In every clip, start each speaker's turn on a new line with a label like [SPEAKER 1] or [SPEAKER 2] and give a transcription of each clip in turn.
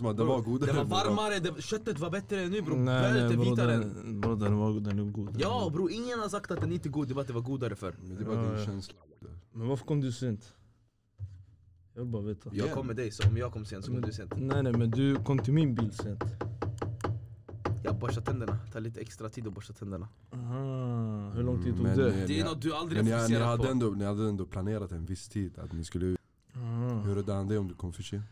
[SPEAKER 1] Smak, den var godare
[SPEAKER 2] Det var
[SPEAKER 1] än den
[SPEAKER 2] varmare, det, köttet var bättre än nu bror.
[SPEAKER 3] Nej
[SPEAKER 2] Brödet är
[SPEAKER 3] nej bror
[SPEAKER 2] vitare. än-
[SPEAKER 3] den, bro, den, var, den är god
[SPEAKER 2] Ja bror, ingen har sagt att den inte är god, det var att det var godare förr.
[SPEAKER 1] Men det var
[SPEAKER 3] Ja, ja.
[SPEAKER 1] din känsla
[SPEAKER 3] Men varför kom du sent? Jag vill bara veta
[SPEAKER 2] Jag
[SPEAKER 1] Igen.
[SPEAKER 2] kom med dig, så om jag kom sent så kom du sent.
[SPEAKER 3] Nej nej men du kom till min bil sent
[SPEAKER 2] Jag borstar tänderna, tar lite extra tid att borsta tänderna.
[SPEAKER 3] Aha, hur lång tid tog
[SPEAKER 1] Men,
[SPEAKER 3] det?
[SPEAKER 1] eh,
[SPEAKER 2] Det är
[SPEAKER 1] ni-
[SPEAKER 2] något du aldrig
[SPEAKER 1] Men ni, ni,
[SPEAKER 2] fokuserat
[SPEAKER 1] hade
[SPEAKER 2] på.
[SPEAKER 1] ändå, ni hade ändå planerat en viss tid att ni skulle ut
[SPEAKER 3] Aha.
[SPEAKER 1] Hur räddade han dig om du kom för sent?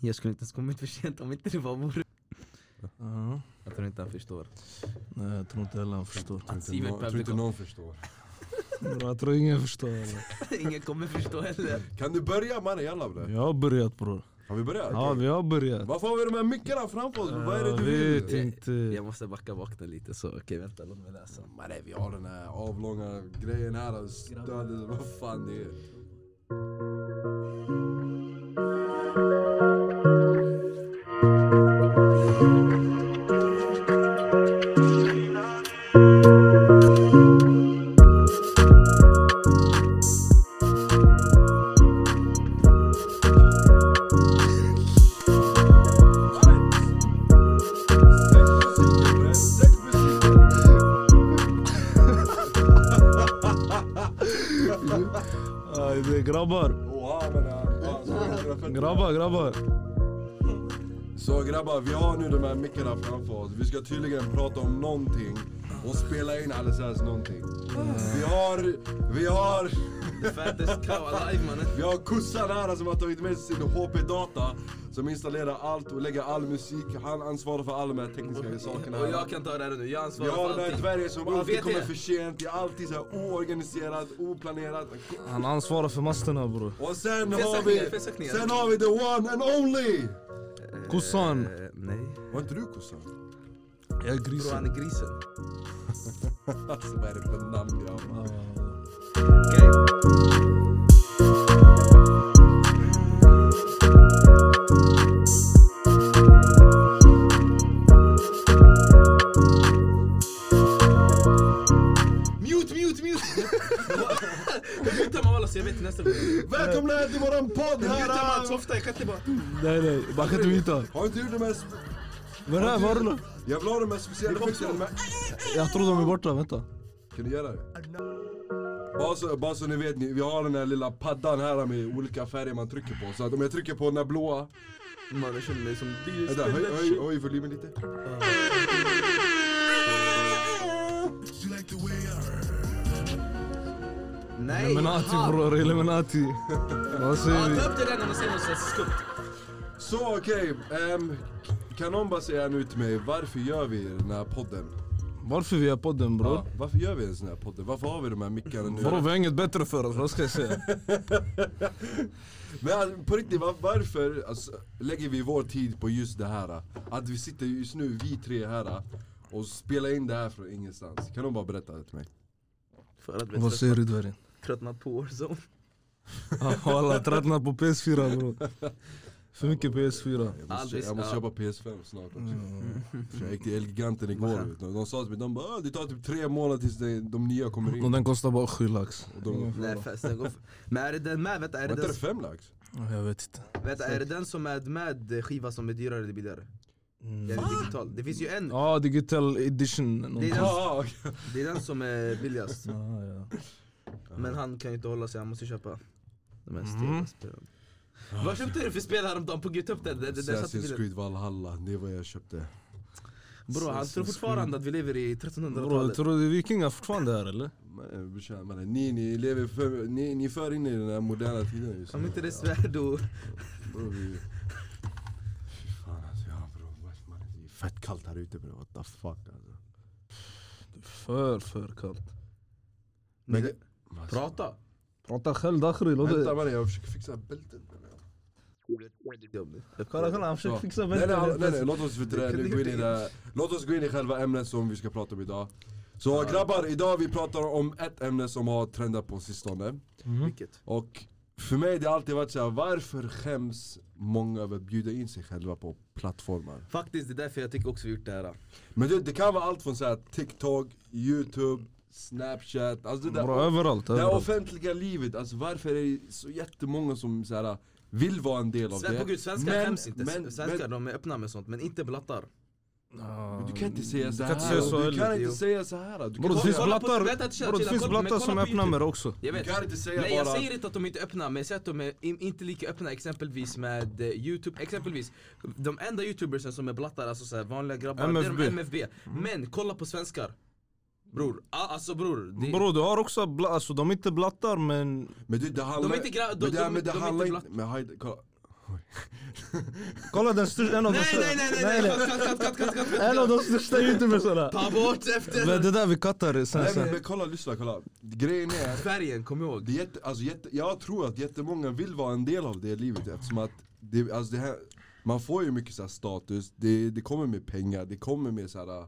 [SPEAKER 2] Jag skulle inte ens kommit för sent om inte det var vår.
[SPEAKER 3] Aha.
[SPEAKER 2] Jag tror inte han förstår.
[SPEAKER 3] Nej jag tror inte heller han förstår
[SPEAKER 1] Jag tror inte, nå-
[SPEAKER 2] Sivert
[SPEAKER 1] jag
[SPEAKER 2] behövde
[SPEAKER 1] tror inte
[SPEAKER 2] komma.
[SPEAKER 1] någon förstår
[SPEAKER 3] Bro, Jag tror ingen förstår eller.
[SPEAKER 2] ingen kommer förstå heller.
[SPEAKER 1] Kan du börja mannen jalla bre?
[SPEAKER 3] Jag har börjat bror
[SPEAKER 1] Har vi börjat?
[SPEAKER 3] Ja vi har börjat
[SPEAKER 1] Varför har vi de här mickarna framför oss? Vad är det du
[SPEAKER 3] Jag
[SPEAKER 1] vill?
[SPEAKER 3] vet inte
[SPEAKER 2] Jag måste backa vakna lite så, okej vänta låt mig läsa.
[SPEAKER 1] Mannen vi har den här avlånga grejen här, stödet, vad fan det är
[SPEAKER 3] Aj, det är Grabbar,
[SPEAKER 1] Oha, men, ja, ja, så grabbar.
[SPEAKER 3] grabbar, grabbar
[SPEAKER 1] Så grabbar, vi har nu de här mickarna framför oss. Vi ska tydligen prata om någonting och spela in alldeles någonting. Vi har, vi har,
[SPEAKER 2] The fattest cow alive mannen.
[SPEAKER 1] vi har kossan här som har tagit med sig sin HP-data som installerar allt och lägger all musik. Han ansvarar för alla de här tekniska sakerna.
[SPEAKER 2] Och jag kan ta det här nu, jag
[SPEAKER 1] Vi
[SPEAKER 2] ansvarar
[SPEAKER 1] har
[SPEAKER 2] för
[SPEAKER 1] den här
[SPEAKER 2] allting.
[SPEAKER 1] dvärgen som
[SPEAKER 2] Bror,
[SPEAKER 1] alltid
[SPEAKER 2] vet
[SPEAKER 1] kommer
[SPEAKER 2] jag.
[SPEAKER 1] för sent, det är alltid så här oorganiserat, oplanerat.
[SPEAKER 3] Han ansvarar för masterna bror
[SPEAKER 1] Och sen har
[SPEAKER 2] Felsägningar,
[SPEAKER 1] vi,
[SPEAKER 2] felsägningar.
[SPEAKER 1] sen har vi the one and only!
[SPEAKER 3] Kossan,
[SPEAKER 2] Eh, nej.
[SPEAKER 1] Var inte du kossan?
[SPEAKER 3] jag är
[SPEAKER 2] Bror han
[SPEAKER 3] grisen
[SPEAKER 2] är grisen.
[SPEAKER 1] Alltså vad är det för namn jag har?
[SPEAKER 3] Ja,
[SPEAKER 2] Okej. Mute, mute, mute! Hur mutar man walla så jag vet till nästa gång? Hur
[SPEAKER 1] Välkomna
[SPEAKER 2] Eh,
[SPEAKER 1] till våran podd
[SPEAKER 2] mutar
[SPEAKER 1] här!
[SPEAKER 2] man
[SPEAKER 1] alltså.
[SPEAKER 2] så ofta? Jag kan inte bara...
[SPEAKER 3] Nej nej, man kan inte vita
[SPEAKER 1] Har inte du de här... sp-
[SPEAKER 3] Vad är det här, vad är det?
[SPEAKER 1] Jag vill ha de här speciella
[SPEAKER 2] kom
[SPEAKER 1] effekterna.
[SPEAKER 2] så.
[SPEAKER 1] med-
[SPEAKER 3] Jag tror de är borta, vänta
[SPEAKER 1] Kan du göra det? Bara så, bara så ni vet, ni, vi har den här lilla paddan här med olika färger man trycker på. Så att om jag trycker på den här blåa...
[SPEAKER 2] Man, jag känner mig som...
[SPEAKER 1] Vänta, höj, höj, höj volymen lite.
[SPEAKER 2] Nej!
[SPEAKER 3] Illuminati
[SPEAKER 2] aha.
[SPEAKER 3] bror, Illuminati Vad
[SPEAKER 2] Ja,
[SPEAKER 3] säger vi?
[SPEAKER 2] ta upp det där när man säger något sånt skumt.
[SPEAKER 1] Så okej, ehm, kan någon bara säga nu till mig, varför gör vi den här podden?
[SPEAKER 3] Varför vi har podden
[SPEAKER 1] Ja,
[SPEAKER 3] bror?
[SPEAKER 1] varför gör vi en sån här podden? Varför har vi de här mickarna nu?
[SPEAKER 3] Bror vi har inget bättre för oss, vad ska jag säga?
[SPEAKER 1] Men alltså, på riktigt, var, varför alltså, lägger vi vår tid på just det här? Att vi sitter just nu, vi tre här, och spelar in det här från ingenstans. Kan de bara berätta det till mig?
[SPEAKER 2] För att vi
[SPEAKER 3] Vad säger du dvärgen?
[SPEAKER 2] tröttnat på Warzone.
[SPEAKER 3] Ja, Walla, tröttnat på PS4 bror För mycket PS4
[SPEAKER 1] Jag måste,
[SPEAKER 2] Aldrig-
[SPEAKER 1] jag måste
[SPEAKER 2] ja.
[SPEAKER 1] köpa PS5 snart också.
[SPEAKER 2] Mm.
[SPEAKER 3] Mm.
[SPEAKER 1] För Jag gick till Elgiganten igår, de, de sa till mig, de bara "Ah, det tar typ tre månader tills de, de nya kommer
[SPEAKER 3] Mm. Och
[SPEAKER 1] in.
[SPEAKER 3] den kostar bara 7 lax
[SPEAKER 1] Och de,
[SPEAKER 2] Nej fast den går... Men är det den med? Vänta,
[SPEAKER 1] var
[SPEAKER 2] är det
[SPEAKER 1] inte
[SPEAKER 2] den,
[SPEAKER 1] det fem lax?
[SPEAKER 3] Ja, Jag vet inte
[SPEAKER 2] vänta, är det den som är med skiva som är dyrare eller billigare?
[SPEAKER 3] Mm.
[SPEAKER 2] Den är digital. Det finns ju en.
[SPEAKER 3] Ja, digital edition någonting.
[SPEAKER 2] Det är
[SPEAKER 3] Ja,
[SPEAKER 1] Ah, okej.
[SPEAKER 2] Det är den som är billigast.
[SPEAKER 3] ja.
[SPEAKER 2] Men han kan ju inte hålla sig, han måste ju köpa. De här
[SPEAKER 3] Mm.
[SPEAKER 2] stela spelen. Vad köpte du för spel häromdagen? På Youtube? Det, det, det, det satt i
[SPEAKER 1] Ah. Assassin's
[SPEAKER 2] bilden.
[SPEAKER 1] Creed Valhalla, det är vad jag köpte.
[SPEAKER 2] Bro, han tror fortfarande att vi lever i
[SPEAKER 3] Bror,
[SPEAKER 2] 1300-talet.
[SPEAKER 3] tror du det är vikingar fortfarande här eller?
[SPEAKER 1] Men, eh, brorsan, mannen, Ni, ni lever för, ni, ni är för inne i den här moderna tiden just
[SPEAKER 2] Om
[SPEAKER 1] nu.
[SPEAKER 2] inte det är
[SPEAKER 1] Ja.
[SPEAKER 2] svärd och...
[SPEAKER 1] Bror vi... Fy fan alltså, ja bror. vad- man, Det är fett kallt här ute bror, what the fuck alltså.
[SPEAKER 3] För, för kallt.
[SPEAKER 1] Men-
[SPEAKER 2] Ni-
[SPEAKER 1] Alltså,
[SPEAKER 2] Prata!
[SPEAKER 3] Prata själv Dakhri, låt
[SPEAKER 1] Vänta
[SPEAKER 3] det...
[SPEAKER 1] mannen, jag försöker fixa bälten.
[SPEAKER 3] Kolla, kolla han försöker
[SPEAKER 1] Ja.
[SPEAKER 3] fixa
[SPEAKER 1] Nej nej, nej, nej, nej,
[SPEAKER 3] bältet.
[SPEAKER 1] låt oss, vet du det, nu gå in i det här. låt oss gå in i själva ämnet som vi ska prata om idag. Så grabbar, idag vi pratar om ett ämne som har trendat på sistone.
[SPEAKER 2] Mm.
[SPEAKER 3] Mm.
[SPEAKER 2] Vilket?
[SPEAKER 1] Och för mig det har alltid varit såhär, varför skäms många över att bjuda in sig själva på plattformar?
[SPEAKER 2] Faktiskt, det är därför jag tycker också vi gjort det här.
[SPEAKER 1] Men du, det kan vara allt från så här TikTok, YouTube, Snapchat, alltså det
[SPEAKER 3] Bror,
[SPEAKER 1] där,
[SPEAKER 3] överallt,
[SPEAKER 1] det här
[SPEAKER 3] överallt.
[SPEAKER 1] offentliga livet. Alltså varför är det så jättemånga som så här, vill vara en del av
[SPEAKER 2] Sve-
[SPEAKER 1] det.
[SPEAKER 2] på gud, svenskar
[SPEAKER 1] men,
[SPEAKER 2] skäms inte.
[SPEAKER 1] Men,
[SPEAKER 2] svenskar
[SPEAKER 1] men,
[SPEAKER 2] de är öppna med sånt, men inte blattar.
[SPEAKER 1] du kan inte säga så
[SPEAKER 3] Mm. kan
[SPEAKER 1] här.
[SPEAKER 3] inte säga så
[SPEAKER 1] du kan
[SPEAKER 3] heller.
[SPEAKER 1] inte
[SPEAKER 2] Jo.
[SPEAKER 1] säga så här. Du kan,
[SPEAKER 3] Bror det
[SPEAKER 1] inte
[SPEAKER 3] finns
[SPEAKER 1] säga-
[SPEAKER 2] kolla på-
[SPEAKER 3] blattar,
[SPEAKER 2] vänta, chill,
[SPEAKER 3] bror, det
[SPEAKER 2] chilla,
[SPEAKER 3] finns
[SPEAKER 2] kolla- men
[SPEAKER 3] blattar
[SPEAKER 2] kolla
[SPEAKER 3] som
[SPEAKER 2] på
[SPEAKER 3] öppnar
[SPEAKER 2] YouTube.
[SPEAKER 3] med det också.
[SPEAKER 2] Jag
[SPEAKER 1] du
[SPEAKER 2] vet.
[SPEAKER 1] kan inte säga
[SPEAKER 2] Nej jag
[SPEAKER 1] bara...
[SPEAKER 2] säger inte att de inte är öppna, men jag säger att de är im- inte lika öppna exempelvis med eh, youtube, exempelvis de enda youtubersen som är blattar, alltså så här, vanliga grabbar, det
[SPEAKER 3] MFB.
[SPEAKER 2] är de MFB. Men kolla på svenskar. Bror, ah, alltså bror. Det,
[SPEAKER 3] Bror du har också, bla, alltså de är inte blattar men
[SPEAKER 1] Men det, det handlar...
[SPEAKER 2] inte gra- de-
[SPEAKER 1] men det,
[SPEAKER 2] de-
[SPEAKER 1] men det
[SPEAKER 2] de är
[SPEAKER 1] handlar
[SPEAKER 2] inte
[SPEAKER 1] inte... Men hej, kolla.
[SPEAKER 3] kolla den största, en av de
[SPEAKER 2] Nej nej nej nej nej! Cut, cut, cut, cut, cut,
[SPEAKER 3] En av
[SPEAKER 2] cut.
[SPEAKER 3] de största youtubersarna.
[SPEAKER 2] Ta bort
[SPEAKER 3] Men
[SPEAKER 2] efter!
[SPEAKER 3] Det där vi kattar sen
[SPEAKER 1] Nej men,
[SPEAKER 3] sen.
[SPEAKER 1] men kolla, lyssna, kolla. Grejen är...
[SPEAKER 2] Färgen, kom ihåg.
[SPEAKER 1] Det är jätte, alltså jätte, jag tror att jättemånga vill vara en del av det livet eftersom att det, alltså det här, man får ju mycket så här status, det, det kommer med pengar, det kommer med så här,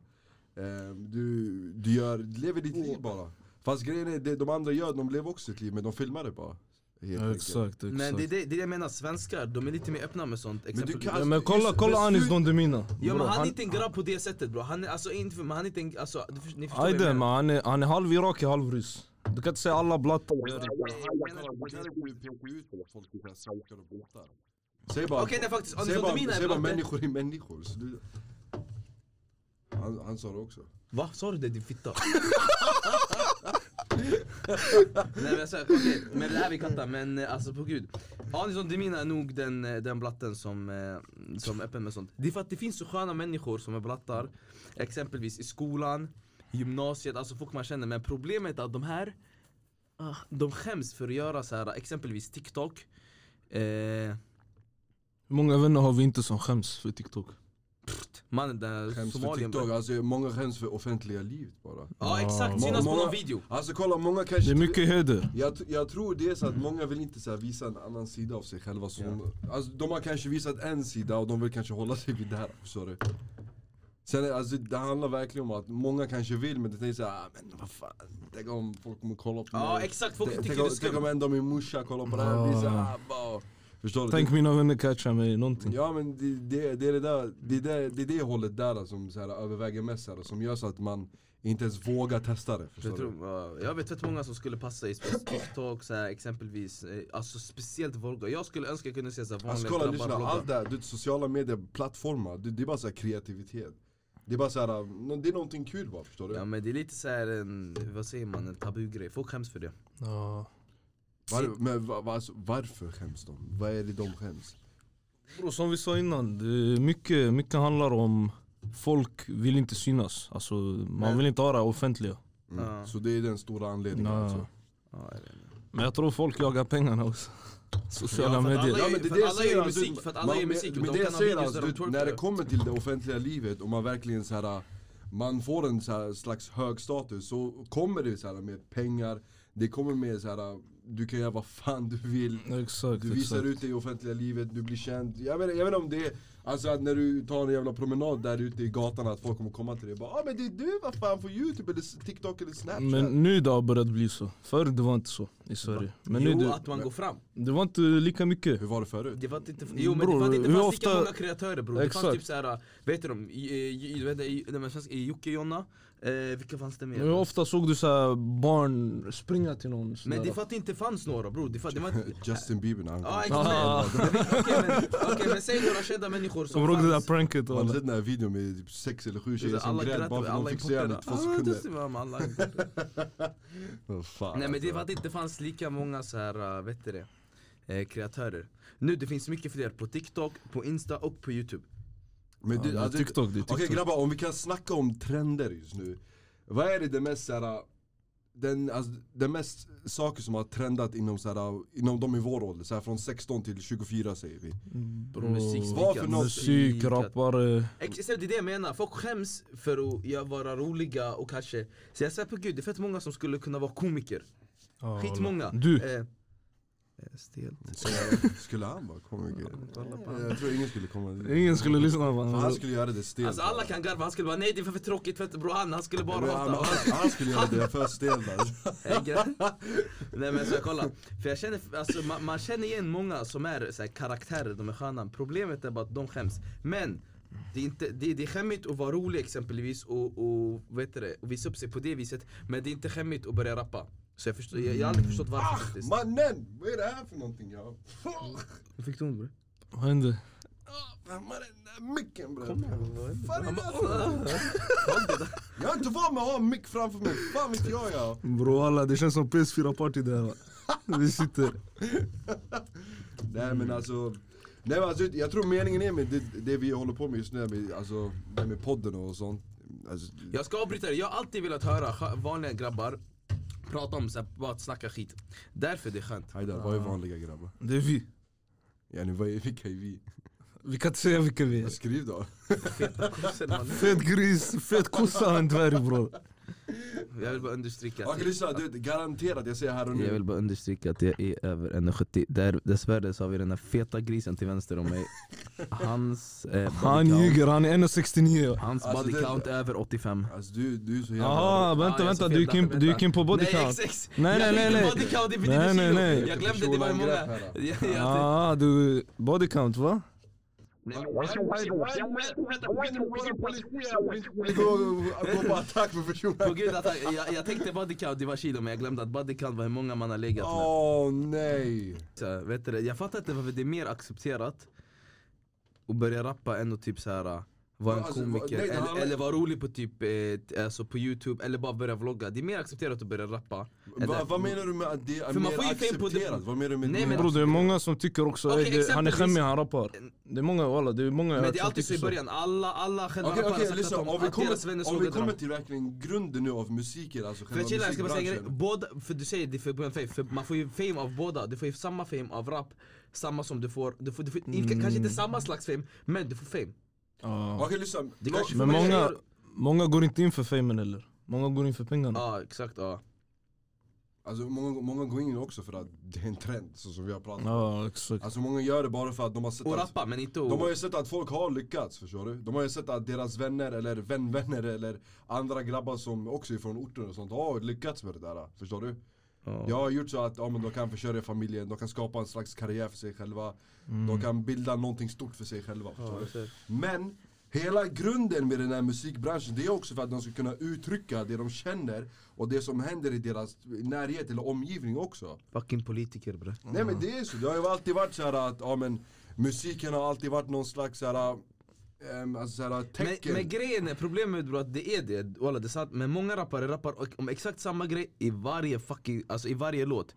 [SPEAKER 1] eh, du, du gör, du lever ditt liv bara. Fast grejen är, det de andra gör, de lever också sitt liv men de filmar det bara. Helt
[SPEAKER 3] Ja,
[SPEAKER 1] enkelt.
[SPEAKER 3] Exakt,
[SPEAKER 2] Men det är
[SPEAKER 3] exakt.
[SPEAKER 2] det, det är det jag menar, svenskar de är lite mer öppna med sånt.
[SPEAKER 1] du
[SPEAKER 2] Exempelvis.
[SPEAKER 1] kan-
[SPEAKER 3] Men kolla,
[SPEAKER 1] Just-
[SPEAKER 3] kolla
[SPEAKER 1] men
[SPEAKER 3] Anis
[SPEAKER 1] slut-
[SPEAKER 3] Don Demina.
[SPEAKER 2] Ja men
[SPEAKER 3] Bror,
[SPEAKER 2] han är inte en grabb på det sättet bror, han är alltså inte, men han är inte en, alltså du för- ni förstår vad
[SPEAKER 3] Ajde,
[SPEAKER 2] jag
[SPEAKER 3] men
[SPEAKER 2] menar.
[SPEAKER 3] han är, han är halv iraki, halv ryss. Du kan inte säga alla blattar.
[SPEAKER 1] Säg bara,
[SPEAKER 2] Okej nej faktiskt, Anis
[SPEAKER 1] säg
[SPEAKER 2] Don
[SPEAKER 1] bara,
[SPEAKER 2] Demina
[SPEAKER 1] säg
[SPEAKER 2] är
[SPEAKER 1] bara
[SPEAKER 2] blatte.
[SPEAKER 1] människor är människor. Så du, han, han sa det också.
[SPEAKER 2] Va? Sa du det din fitta? Nej men jag säger, okej, men det här vi kattar, men eh, alltså på gud Anis Don Demina är nog den, eh, den blatten som, eh, som är öppen med sånt Det är för att det finns så sköna människor som är blattar Exempelvis i skolan, gymnasiet, alltså folk man känner Men problemet är att de här ah, De skäms för att göra så här exempelvis TikTok eh,
[SPEAKER 3] Hur många vänner har vi inte som skäms för TikTok?
[SPEAKER 2] Mannen den
[SPEAKER 1] Skäms för
[SPEAKER 2] somalien
[SPEAKER 1] TikTok, alltså många skäms för offentliga livet bara.
[SPEAKER 2] Ja exakt,
[SPEAKER 1] Må-
[SPEAKER 2] synas på
[SPEAKER 1] många-
[SPEAKER 2] någon video
[SPEAKER 1] Alltså kolla, många kanske...
[SPEAKER 3] Det är mycket heder.
[SPEAKER 1] Jag, tr- jag tror det är så att många vill inte så här visa en annan sida av sig själva så de, alltså, de har kanske visat en sida och de vill kanske hålla sig vid det här, sorry Sen är- alltså, det handlar verkligen om att många kanske vill men det tänker såhär, ah, men vad fan, tänk om folk kommer kolla på
[SPEAKER 2] Ja
[SPEAKER 1] mig
[SPEAKER 2] exakt, folk
[SPEAKER 1] Tänk-
[SPEAKER 2] tycker
[SPEAKER 1] tänk,
[SPEAKER 2] det
[SPEAKER 1] om-
[SPEAKER 2] är
[SPEAKER 1] tänk om
[SPEAKER 2] skumt
[SPEAKER 1] en dag min morsa kollar på det här och blir såhär, ah, Förstår du?
[SPEAKER 3] Tänk mina vänner catchar mig i någonting.
[SPEAKER 1] Ja men det, det, det är det där, det, det, det är det hållet där som så här, överväger mest så här, som gör så att man inte ens vågar testa det, förstår
[SPEAKER 2] Jag,
[SPEAKER 1] du?
[SPEAKER 2] tror, ja, jag vet fett många som skulle passa i TikTok så här, exempelvis, eh, alltså speciellt Volga Jag skulle önska jag kunde se såhär
[SPEAKER 1] Alltså
[SPEAKER 2] vanliga
[SPEAKER 1] kolla,
[SPEAKER 2] grabbar
[SPEAKER 1] lyssna,
[SPEAKER 2] vlogga
[SPEAKER 1] allt det här, du vet, sociala medier, plattformar, det, det är bara så här kreativitet Det är bara så här, nå- det är någonting kul bara förstår du?
[SPEAKER 2] Ja men det är lite såhär en, vad säger man, en tabugrej, folk skäms för det
[SPEAKER 3] Ja.
[SPEAKER 1] Var, men va, va, alltså, varför skäms de? Vad är det de skäms?
[SPEAKER 3] Bro, som vi sa innan, det är mycket, mycket handlar om folk vill inte synas. Alltså, man
[SPEAKER 2] Men-
[SPEAKER 3] vill inte ha det offentliga.
[SPEAKER 1] Mm.
[SPEAKER 2] Ja.
[SPEAKER 1] Så det är den stora anledningen
[SPEAKER 3] Ja.
[SPEAKER 1] alltså
[SPEAKER 2] Ja, jag vet inte.
[SPEAKER 3] Men jag tror folk jagar pengarna också. Sociala
[SPEAKER 2] Ja, för att
[SPEAKER 3] medier.
[SPEAKER 2] alla-
[SPEAKER 1] men
[SPEAKER 2] för alla gör ju musik, för att alla
[SPEAKER 1] man-
[SPEAKER 2] gör musik,
[SPEAKER 1] Men
[SPEAKER 2] de
[SPEAKER 1] det
[SPEAKER 2] kan
[SPEAKER 1] jag
[SPEAKER 2] ha
[SPEAKER 1] säger
[SPEAKER 2] videos
[SPEAKER 1] alltså,
[SPEAKER 2] där de
[SPEAKER 1] du,
[SPEAKER 2] twerkar.
[SPEAKER 1] när det kommer till det offentliga livet och man verkligen så här, man får en så här slags hög status så kommer det så här med pengar, det kommer med så här du kan göra vad fan du vill
[SPEAKER 3] Exakt,
[SPEAKER 1] Du visar
[SPEAKER 3] exakt.
[SPEAKER 1] ut dig i offentliga livet, du blir känd. Jag vet, jag vet inte om det är, alltså att när du tar en jävla promenad där ute i gatan att folk kommer komma till dig och bara ah, men det är du vad fan på youtube eller tiktok eller snapchat.
[SPEAKER 3] Men nu det har börjat bli så. Förr det var inte så i Sverige. Men nu
[SPEAKER 2] Jo
[SPEAKER 3] det,
[SPEAKER 2] att man går fram,
[SPEAKER 3] det var inte lika mycket.
[SPEAKER 1] Hur var det förut?
[SPEAKER 2] det var inte, jo men
[SPEAKER 3] Bror,
[SPEAKER 2] det var inte
[SPEAKER 3] hur
[SPEAKER 2] det fanns
[SPEAKER 3] ofta-
[SPEAKER 2] lika många kreatörer bror Det fanns
[SPEAKER 3] Exakt.
[SPEAKER 2] typ såhär, vet du dem, i- i- i- eh, vad heter det, i- nej, men svenska- i Jocke Jonna, eh, vilka fanns det mer?
[SPEAKER 3] Men Hur ofta såg du så här barn springa till någon? sån
[SPEAKER 2] Men
[SPEAKER 3] där-
[SPEAKER 2] det är för att det inte fanns några bror, det är för att det var inte
[SPEAKER 1] Justin Bieber när han kom. Har
[SPEAKER 2] Ja exakt!
[SPEAKER 3] Ah.
[SPEAKER 2] Men vi- Okej men, okej, men säg några kända människor som
[SPEAKER 3] Kommer du ihåg det där
[SPEAKER 2] fanns.
[SPEAKER 3] pranket?
[SPEAKER 1] du
[SPEAKER 3] walla?
[SPEAKER 1] sett den här videon med typ sex eller sju
[SPEAKER 2] Det är
[SPEAKER 1] tjejer
[SPEAKER 2] så här,
[SPEAKER 1] som
[SPEAKER 2] Alltså, alla
[SPEAKER 1] grät bara
[SPEAKER 2] grät
[SPEAKER 1] för att
[SPEAKER 2] alla
[SPEAKER 1] de fick se henne i
[SPEAKER 2] importerade.
[SPEAKER 1] två
[SPEAKER 2] Ah,
[SPEAKER 1] sekunder?
[SPEAKER 2] det ser man med alla importerade.
[SPEAKER 1] Vad fan,
[SPEAKER 2] Nej men det
[SPEAKER 1] alltså.
[SPEAKER 2] var att det inte fanns lika många så här, äh, vet du det, eh, kreatörer Nu det finns mycket fler på TikTok, på Insta och på YouTube
[SPEAKER 1] Men
[SPEAKER 3] Ja,
[SPEAKER 1] du,
[SPEAKER 3] men
[SPEAKER 1] alltså,
[SPEAKER 3] TikTok, det är
[SPEAKER 1] Okej
[SPEAKER 3] TikTok.
[SPEAKER 1] grabbar, om vi kan snacka om trender just nu. Vad är det, det mest såhär, den, alltså, det mest saker som har trendat inom, såhär, inom de i vår ålder, såhär, från 16 till 24 säger vi.
[SPEAKER 3] Bro,
[SPEAKER 2] Musikstickat.
[SPEAKER 1] Vad för något?
[SPEAKER 3] Musik, rappare.
[SPEAKER 2] Ex- Exakt det är det jag menar, folk skäms för att ja, vara roliga och kanske Så jag svär på gud, det är fett många som skulle kunna vara komiker
[SPEAKER 3] Ja,
[SPEAKER 2] Skitmånga!
[SPEAKER 3] Du.
[SPEAKER 2] Eh, eh, Stelt
[SPEAKER 1] Så, skulle han vara komiker? Jag tror ingen skulle komma dit.
[SPEAKER 3] Ingen skulle lyssna på
[SPEAKER 1] För han
[SPEAKER 3] honom.
[SPEAKER 1] skulle göra det stelt.
[SPEAKER 2] Alltså alla kan garva, han skulle bara nej det är för tråkigt för att bror han, han skulle
[SPEAKER 1] Men
[SPEAKER 2] bara
[SPEAKER 1] han,
[SPEAKER 2] hata
[SPEAKER 1] han, han skulle göra det för stelt alltså.
[SPEAKER 2] Är det gre- Nej men så jag kolla, för jag känner, alltså, man, man känner igen många som är så här, karaktärer, de är sköna Problemet är bara att de skäms Men det är, inte, det, det är skämmigt att vara rolig exempelvis och, och, vet du det, och visa upp sig på det viset Men det är inte skämmigt att börja rappa Så jag, förstår, jag, jag har aldrig förstått varför faktiskt.
[SPEAKER 1] Mannen! Vad är det här för någonting jag?
[SPEAKER 2] Fick du ont bror?
[SPEAKER 3] Vad hände?
[SPEAKER 1] Mannen, den där micken bror.
[SPEAKER 2] Kom här, vad händer?
[SPEAKER 1] Fan är det här för någonting? Jag är inte van med att ha en mick framför mig, fan vet jag ja.
[SPEAKER 3] Bro alla, det känns som PS4-party det här va. Vi sitter.
[SPEAKER 1] Nej men alltså, nej, men alltså jag tror meningen är med det, det vi håller på med just nu, med, alltså det här med podden och sånt. Alltså,
[SPEAKER 2] Jag ska avbryta dig, jag har alltid velat höra skö- vanliga grabbar prata om så här, bara att snacka skit. Därför det är skönt.
[SPEAKER 1] Haidar, vad är vanliga grabbar?
[SPEAKER 3] Det är vi.
[SPEAKER 1] Yani vad är, vilka är vi?
[SPEAKER 3] Vi kan inte säga vilka vi
[SPEAKER 1] Jag
[SPEAKER 3] är.
[SPEAKER 1] skriv då.
[SPEAKER 2] Sen man-
[SPEAKER 3] Fet gris, fet kossa och en dvärg bror.
[SPEAKER 2] Jag vill bara understryka att
[SPEAKER 1] Okej lyssna, du, garanterat jag säger här och
[SPEAKER 2] jag
[SPEAKER 1] nu.
[SPEAKER 2] vill bara understryka att jag är över 1,70 Där, Dessvärre så har vi den här feta grisen till vänster om mig Hans eh,
[SPEAKER 3] Han
[SPEAKER 2] body count-
[SPEAKER 3] ljuger, han är 1,69.
[SPEAKER 2] Hans
[SPEAKER 1] Alltså,
[SPEAKER 2] body
[SPEAKER 1] det-
[SPEAKER 2] count är över 85
[SPEAKER 1] Alltså du, du är så jävla...
[SPEAKER 3] Jaha,
[SPEAKER 2] Ja,
[SPEAKER 3] vänta
[SPEAKER 2] jag
[SPEAKER 3] vänta,
[SPEAKER 2] sa
[SPEAKER 3] du
[SPEAKER 2] fel.
[SPEAKER 3] gick in,
[SPEAKER 2] Vänta,
[SPEAKER 3] du gick in på body
[SPEAKER 2] Nej
[SPEAKER 3] count.
[SPEAKER 2] exakt!
[SPEAKER 3] Nej, nej,
[SPEAKER 2] jag
[SPEAKER 3] nej,
[SPEAKER 2] tänkte
[SPEAKER 3] nej.
[SPEAKER 2] body count, det betyder
[SPEAKER 3] Nej, nej,
[SPEAKER 2] kilo.
[SPEAKER 3] nej.
[SPEAKER 2] Jag glömde det var hur många
[SPEAKER 1] Personangrepp här, då.
[SPEAKER 2] Jag- jag-
[SPEAKER 3] Ah, du, body count va?
[SPEAKER 2] Nej,
[SPEAKER 1] Gå, gå på attack med
[SPEAKER 2] På
[SPEAKER 1] personen.
[SPEAKER 2] gud att jag, jag, jag tänkte body count, det var kilo men jag glömde att body count var hur många man har legat med
[SPEAKER 1] Åh nej.
[SPEAKER 2] så, vet du, det, Jag fattar inte varför det är mer accepterat att börja rappa än att typ så här vara en
[SPEAKER 1] Alltså,
[SPEAKER 2] komiker
[SPEAKER 1] nej, det
[SPEAKER 2] eller,
[SPEAKER 1] handlar-
[SPEAKER 2] eller vara rolig på typ eh, t- alltså på youtube eller bara börja vlogga Det är mer accepterat att börja rappa än
[SPEAKER 1] Va,
[SPEAKER 2] att-
[SPEAKER 1] vad menar du med att det är
[SPEAKER 2] För man
[SPEAKER 1] mer
[SPEAKER 2] får ju fame på det-
[SPEAKER 1] accepterat? Vad menar du med
[SPEAKER 2] Nej, men-
[SPEAKER 3] Bror det är många som tycker också,
[SPEAKER 2] Okej,
[SPEAKER 3] "Ey, det, han är
[SPEAKER 2] exempelvis-
[SPEAKER 3] skämmig han rappar. Det är många walla, det är många jag
[SPEAKER 2] Men
[SPEAKER 3] hört
[SPEAKER 2] det är
[SPEAKER 3] som
[SPEAKER 2] alltid så i
[SPEAKER 3] tycker
[SPEAKER 2] början, alla, alla själva
[SPEAKER 1] typ Okej
[SPEAKER 2] rappare har
[SPEAKER 1] okej,
[SPEAKER 2] sagt
[SPEAKER 1] lyssna
[SPEAKER 2] att, de,
[SPEAKER 1] om vi
[SPEAKER 2] att deras vänner
[SPEAKER 1] kommer, om vi
[SPEAKER 2] sågade
[SPEAKER 1] kommer
[SPEAKER 2] dem
[SPEAKER 1] till verkligen grunden nu av musiken, alltså
[SPEAKER 2] För
[SPEAKER 1] själva
[SPEAKER 2] chilla, jag ska bara säga en grej,
[SPEAKER 1] musikbranschen
[SPEAKER 2] båda, för du säger det för början fame, för man får ju fame av båda Du får ju samma fame av rap, samma som du får, du får, du får inte-
[SPEAKER 1] Mm.
[SPEAKER 2] kanske inte samma slags fame, men du får fame
[SPEAKER 3] Ja.
[SPEAKER 1] Okej lyssna,
[SPEAKER 2] Det
[SPEAKER 1] låt-
[SPEAKER 2] kanske
[SPEAKER 3] Men
[SPEAKER 2] får man
[SPEAKER 3] många,
[SPEAKER 2] göra.
[SPEAKER 3] många går inte in för famen eller? Många går in för pengarna.
[SPEAKER 2] Ja exakt ja
[SPEAKER 1] alltså, många, många går in också för att det är en trend så som vi har pratat om
[SPEAKER 3] Ja exakt.
[SPEAKER 1] Alltså många gör det bara för att de har sett
[SPEAKER 2] Och
[SPEAKER 1] att,
[SPEAKER 2] rappa men inte
[SPEAKER 1] De har
[SPEAKER 2] att...
[SPEAKER 1] ju sett att folk har lyckats förstår du De har ju sett att deras vänner eller vänvänner eller andra grabbar som också är från orten och sånt har lyckats med det där Förstår du?
[SPEAKER 2] Ja.
[SPEAKER 1] Jag har gjort så att ja, men de kan försörja familjen, de kan skapa en slags karriär för sig själva De kan bilda någonting stort för sig själva förstår du? Men hela grunden med den här musikbranschen det är också för att de ska kunna uttrycka det de känner och det som händer i deras närhet eller omgivning också.
[SPEAKER 2] Fucking politiker bre
[SPEAKER 1] Nej men det är så, det har ju alltid varit så här att ja, men, musiken har alltid varit någon slags så här, ehm, alltså, så här
[SPEAKER 2] men,
[SPEAKER 1] tecken.
[SPEAKER 2] men grejen är, problemet är bro, att det är det, Walla, det är sant, men många rappare rappar o- om exakt samma grej i varje fucking, alltså i varje låt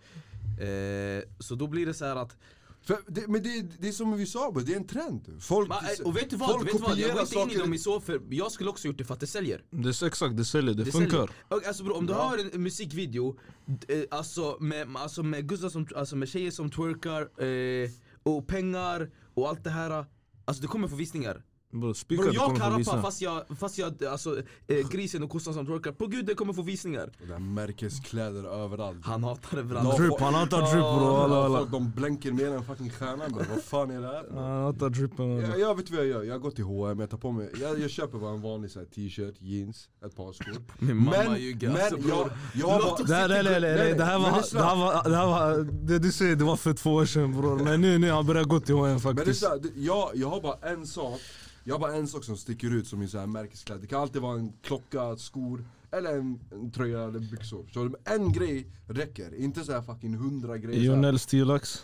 [SPEAKER 2] eh, Så då blir det så här att,
[SPEAKER 1] För det, men det, det är som vi sa, bro, det är en trend. Folk,
[SPEAKER 2] Ma- eh, och vet du vad?
[SPEAKER 1] folk
[SPEAKER 2] Vet du vad? Jag
[SPEAKER 1] kopierar
[SPEAKER 2] går inte in i
[SPEAKER 1] saker-
[SPEAKER 2] dem i så, för jag skulle också gjort det för att det säljer
[SPEAKER 3] Det är så exakt, det säljer, det,
[SPEAKER 2] Det
[SPEAKER 3] funkar.
[SPEAKER 2] säljer. Och Alltså bro, om du
[SPEAKER 1] Ja.
[SPEAKER 2] har en musikvideo, d- eh, alltså med, alltså med guzzar som, alltså med tjejer som twerkar, eh, och pengar och allt det här Alltså det kommer få visningar.
[SPEAKER 3] Bro,
[SPEAKER 2] Bro,
[SPEAKER 3] spikar det
[SPEAKER 2] jag
[SPEAKER 3] kommer
[SPEAKER 2] kan
[SPEAKER 3] från
[SPEAKER 2] rappa
[SPEAKER 3] visningar.
[SPEAKER 2] fast jag, fast jag, alltså eh, grisen och kossan som twerkar, på gud det kommer få visningar.
[SPEAKER 1] Och det här märkeskläder överallt.
[SPEAKER 2] Han hatar det
[SPEAKER 1] Ja,
[SPEAKER 2] överallt.
[SPEAKER 3] Drip, han hatar drip bro,
[SPEAKER 1] Ja,
[SPEAKER 3] alla
[SPEAKER 1] folk,
[SPEAKER 3] alla.
[SPEAKER 1] De blänker mer än fucking stjärnan bro. vad fan är det här för något?
[SPEAKER 3] Han hatar dripen alla.
[SPEAKER 1] jag, jag vet vad jag gör, jag går till H&M, jag tar på mig, jag, jag köper bara en vanlig så här, t-shirt, jeans, ett par skor
[SPEAKER 2] Min mamma ljuger alltså
[SPEAKER 1] men jag,
[SPEAKER 2] bror.
[SPEAKER 1] jag
[SPEAKER 2] Låt
[SPEAKER 1] har
[SPEAKER 2] oss-
[SPEAKER 1] bara,
[SPEAKER 3] Det här, nej, nej, nej, nej, det här
[SPEAKER 1] men
[SPEAKER 3] var,
[SPEAKER 1] lyssna.
[SPEAKER 3] det här var, det här var, det du säger det var för två år sedan bror. Men nu, nu har han börjat gå till H&M
[SPEAKER 1] men det är
[SPEAKER 3] faktiskt.
[SPEAKER 1] så här, det- jag, jag har bara en sak, jag har bara en sak som sticker ut som min så här märkesklädd Det kan alltid vara en klocka, skor, eller en, en tröja eller byxor så, men En grej räcker, inte så här fucking hundra grejer så här.
[SPEAKER 3] Jonels 10 lax.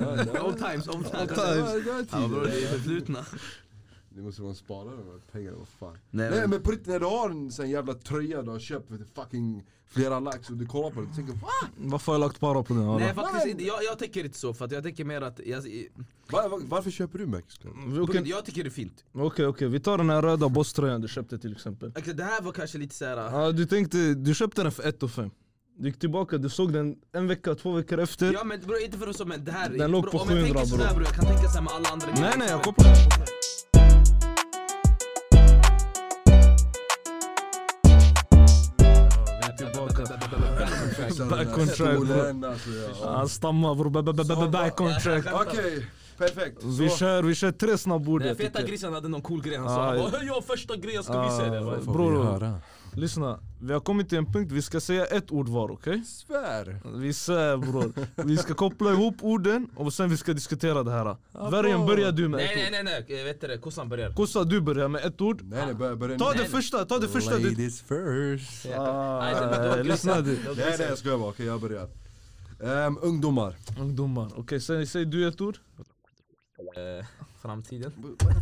[SPEAKER 1] Ja, ja.
[SPEAKER 2] Old times, old times.
[SPEAKER 1] Ja, det var- det var
[SPEAKER 2] Ja,
[SPEAKER 1] tider.
[SPEAKER 2] bro, det är förflutna.
[SPEAKER 1] Det måste vara en sparare med pengar, vad fan.
[SPEAKER 2] Nej,
[SPEAKER 1] Nej,
[SPEAKER 2] men-
[SPEAKER 1] men på riktigt när du har en sån jävla tröja du har köpt för fucking flera lax och du kollar på den och tänker va?
[SPEAKER 3] Varför har jag lagt para på den?
[SPEAKER 2] Nej
[SPEAKER 3] alla?
[SPEAKER 2] faktiskt inte, jag, jag tänker inte så för att jag tänker mer att, jag,
[SPEAKER 1] Va- va- varför köper du märkeskläder?
[SPEAKER 3] Vi- Okej,
[SPEAKER 2] jag tycker det är fint.
[SPEAKER 3] okej, okej, vi tar den här röda bosströjan du köpte till exempel.
[SPEAKER 2] Okej, Alltså, Det här var kanske lite såhär,
[SPEAKER 3] Ja, du tänkte, du köpte den för 1 och 5. Du gick tillbaka, du såg den en vecka, två veckor efter.
[SPEAKER 2] Ja men bro, inte för att så men det här
[SPEAKER 3] Den låg
[SPEAKER 2] bro,
[SPEAKER 3] på
[SPEAKER 2] Om jag
[SPEAKER 3] 700,
[SPEAKER 2] tänker sådär
[SPEAKER 3] bro.
[SPEAKER 2] bro, jag kan tänka såhär med alla andra
[SPEAKER 3] Nej
[SPEAKER 2] grejer som
[SPEAKER 3] nej, jag
[SPEAKER 2] är-
[SPEAKER 3] kopplar. Tillbaka. Back on track, bro.
[SPEAKER 1] Stolen, alltså, ja.
[SPEAKER 3] Han stammar bror, Ba- ba- ba- ba- back on track.
[SPEAKER 1] Okej, perfekt.
[SPEAKER 3] Vi
[SPEAKER 1] Så-
[SPEAKER 3] kör, vi kör tre snabbord
[SPEAKER 2] Den
[SPEAKER 3] jag
[SPEAKER 2] feta
[SPEAKER 3] tycker.
[SPEAKER 2] grisen hade någon cool grej han
[SPEAKER 3] Ah,
[SPEAKER 2] sa
[SPEAKER 3] ja.
[SPEAKER 2] ah, Jag första grejen jag ska visa er
[SPEAKER 3] Ah,
[SPEAKER 2] va?
[SPEAKER 3] bror, Lyssna, vi har kommit till en punkt, vi ska säga ett ord var, okej?
[SPEAKER 1] Svär!
[SPEAKER 3] Vi svär bror. Vi ska koppla ihop orden och sen vi ska diskutera det här. Värjan börjar du med
[SPEAKER 4] Nej
[SPEAKER 3] ett
[SPEAKER 4] nej
[SPEAKER 3] ord.
[SPEAKER 4] nej, nej. Eh, vet du det, kossan börjar.
[SPEAKER 3] Kossa du börjar med ett ord.
[SPEAKER 1] Nej nej börja, börja
[SPEAKER 3] Ta
[SPEAKER 1] nu.
[SPEAKER 3] det första, ta det första. Du...
[SPEAKER 1] Ladies first.
[SPEAKER 4] Nej, det-
[SPEAKER 3] Ah,
[SPEAKER 4] det var
[SPEAKER 3] eh, lyssna
[SPEAKER 4] grisar.
[SPEAKER 3] du.
[SPEAKER 4] Det var
[SPEAKER 1] Nej nej
[SPEAKER 4] grisar.
[SPEAKER 1] jag skojar bara, okej jag börjar. Ehm, ungdomar.
[SPEAKER 3] Ungdomar, okej säg, säg du ett ord.
[SPEAKER 4] Eh, Framtiden.
[SPEAKER 3] Skit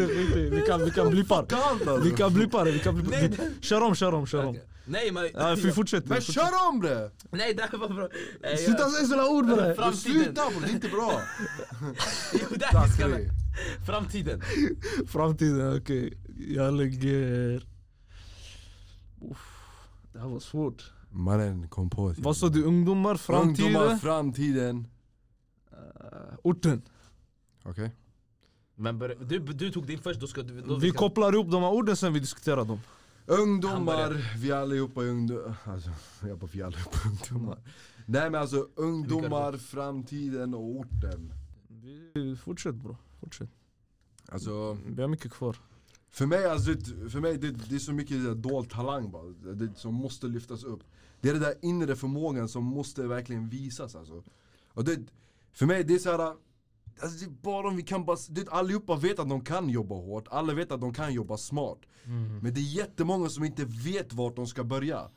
[SPEAKER 3] i- skit i, vi kan, vi kan blippa det. Vi kan blippa det, vi kan blippa det. Vi- Kör om, kör om, kör om.
[SPEAKER 4] Nej men...
[SPEAKER 3] Ja, vi fortsätter.
[SPEAKER 1] Men
[SPEAKER 3] vi fortsätter.
[SPEAKER 1] kör om det!
[SPEAKER 4] Nej det här var bra. Eh, jag-
[SPEAKER 3] Sluta säga sådana ord bre!
[SPEAKER 4] Framtiden.
[SPEAKER 1] Sluta bror, det är inte bra!
[SPEAKER 4] Jo, det här
[SPEAKER 1] Tack
[SPEAKER 4] ska
[SPEAKER 1] för
[SPEAKER 4] vi-
[SPEAKER 1] det.
[SPEAKER 4] Framtiden.
[SPEAKER 3] Framtiden, okej. Jag lägger... Uff, det här var svårt.
[SPEAKER 1] Mannen kom på ett
[SPEAKER 3] Vad sa du? Ungdomar, framtiden?
[SPEAKER 1] Ungdomar, framtiden.
[SPEAKER 3] Eh, orten.
[SPEAKER 1] Okej.
[SPEAKER 4] Men bör, du, du tog din först, då ska du... Då
[SPEAKER 3] Vi kopplar ihop de här orden sen vi diskuterar dem.
[SPEAKER 4] Han
[SPEAKER 1] Ungdomar,
[SPEAKER 4] börjar.
[SPEAKER 1] vi allihopa är ungdomar. Alltså, jag bara vi allihopa är ungdomar. Nej men alltså ungdomar, framtiden och orten.
[SPEAKER 3] Vi- Eh, Fortsätt bro, fortsätt.
[SPEAKER 1] Alltså,
[SPEAKER 3] Vi har mycket kvar.
[SPEAKER 1] för mig, alltså, det- för mig det, det är så mycket där dold talang bara, det, som måste lyftas upp. Det är den där inre förmågan som måste verkligen visas alltså. Och det, för mig det är så här. Alltså det är bara om vi kan bara, det, allihopa vet att de kan jobba hårt, alla vet att de kan jobba smart. Men det är jättemånga som inte vet vart de ska börja.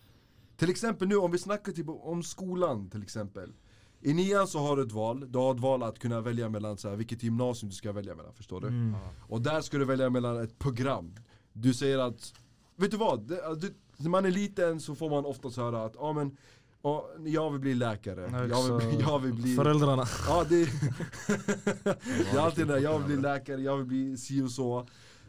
[SPEAKER 1] Till exempel nu om vi snackar typ om skolan till exempel. I nian så har du ett val, du har ett val att kunna välja mellan så här, vilket gymnasium du ska välja mellan, förstår du? Och där ska du välja mellan ett program. Du säger att, vet du vad? Det, äh, det, när man är liten så får man oftast höra att, ja ah, men ja, jag vill bli läkare, jag vill, bli- jag vill bli
[SPEAKER 3] Föräldrarna.
[SPEAKER 1] Ja det Det är alltid det där, jag vill bli läkare, jag vill bli si och så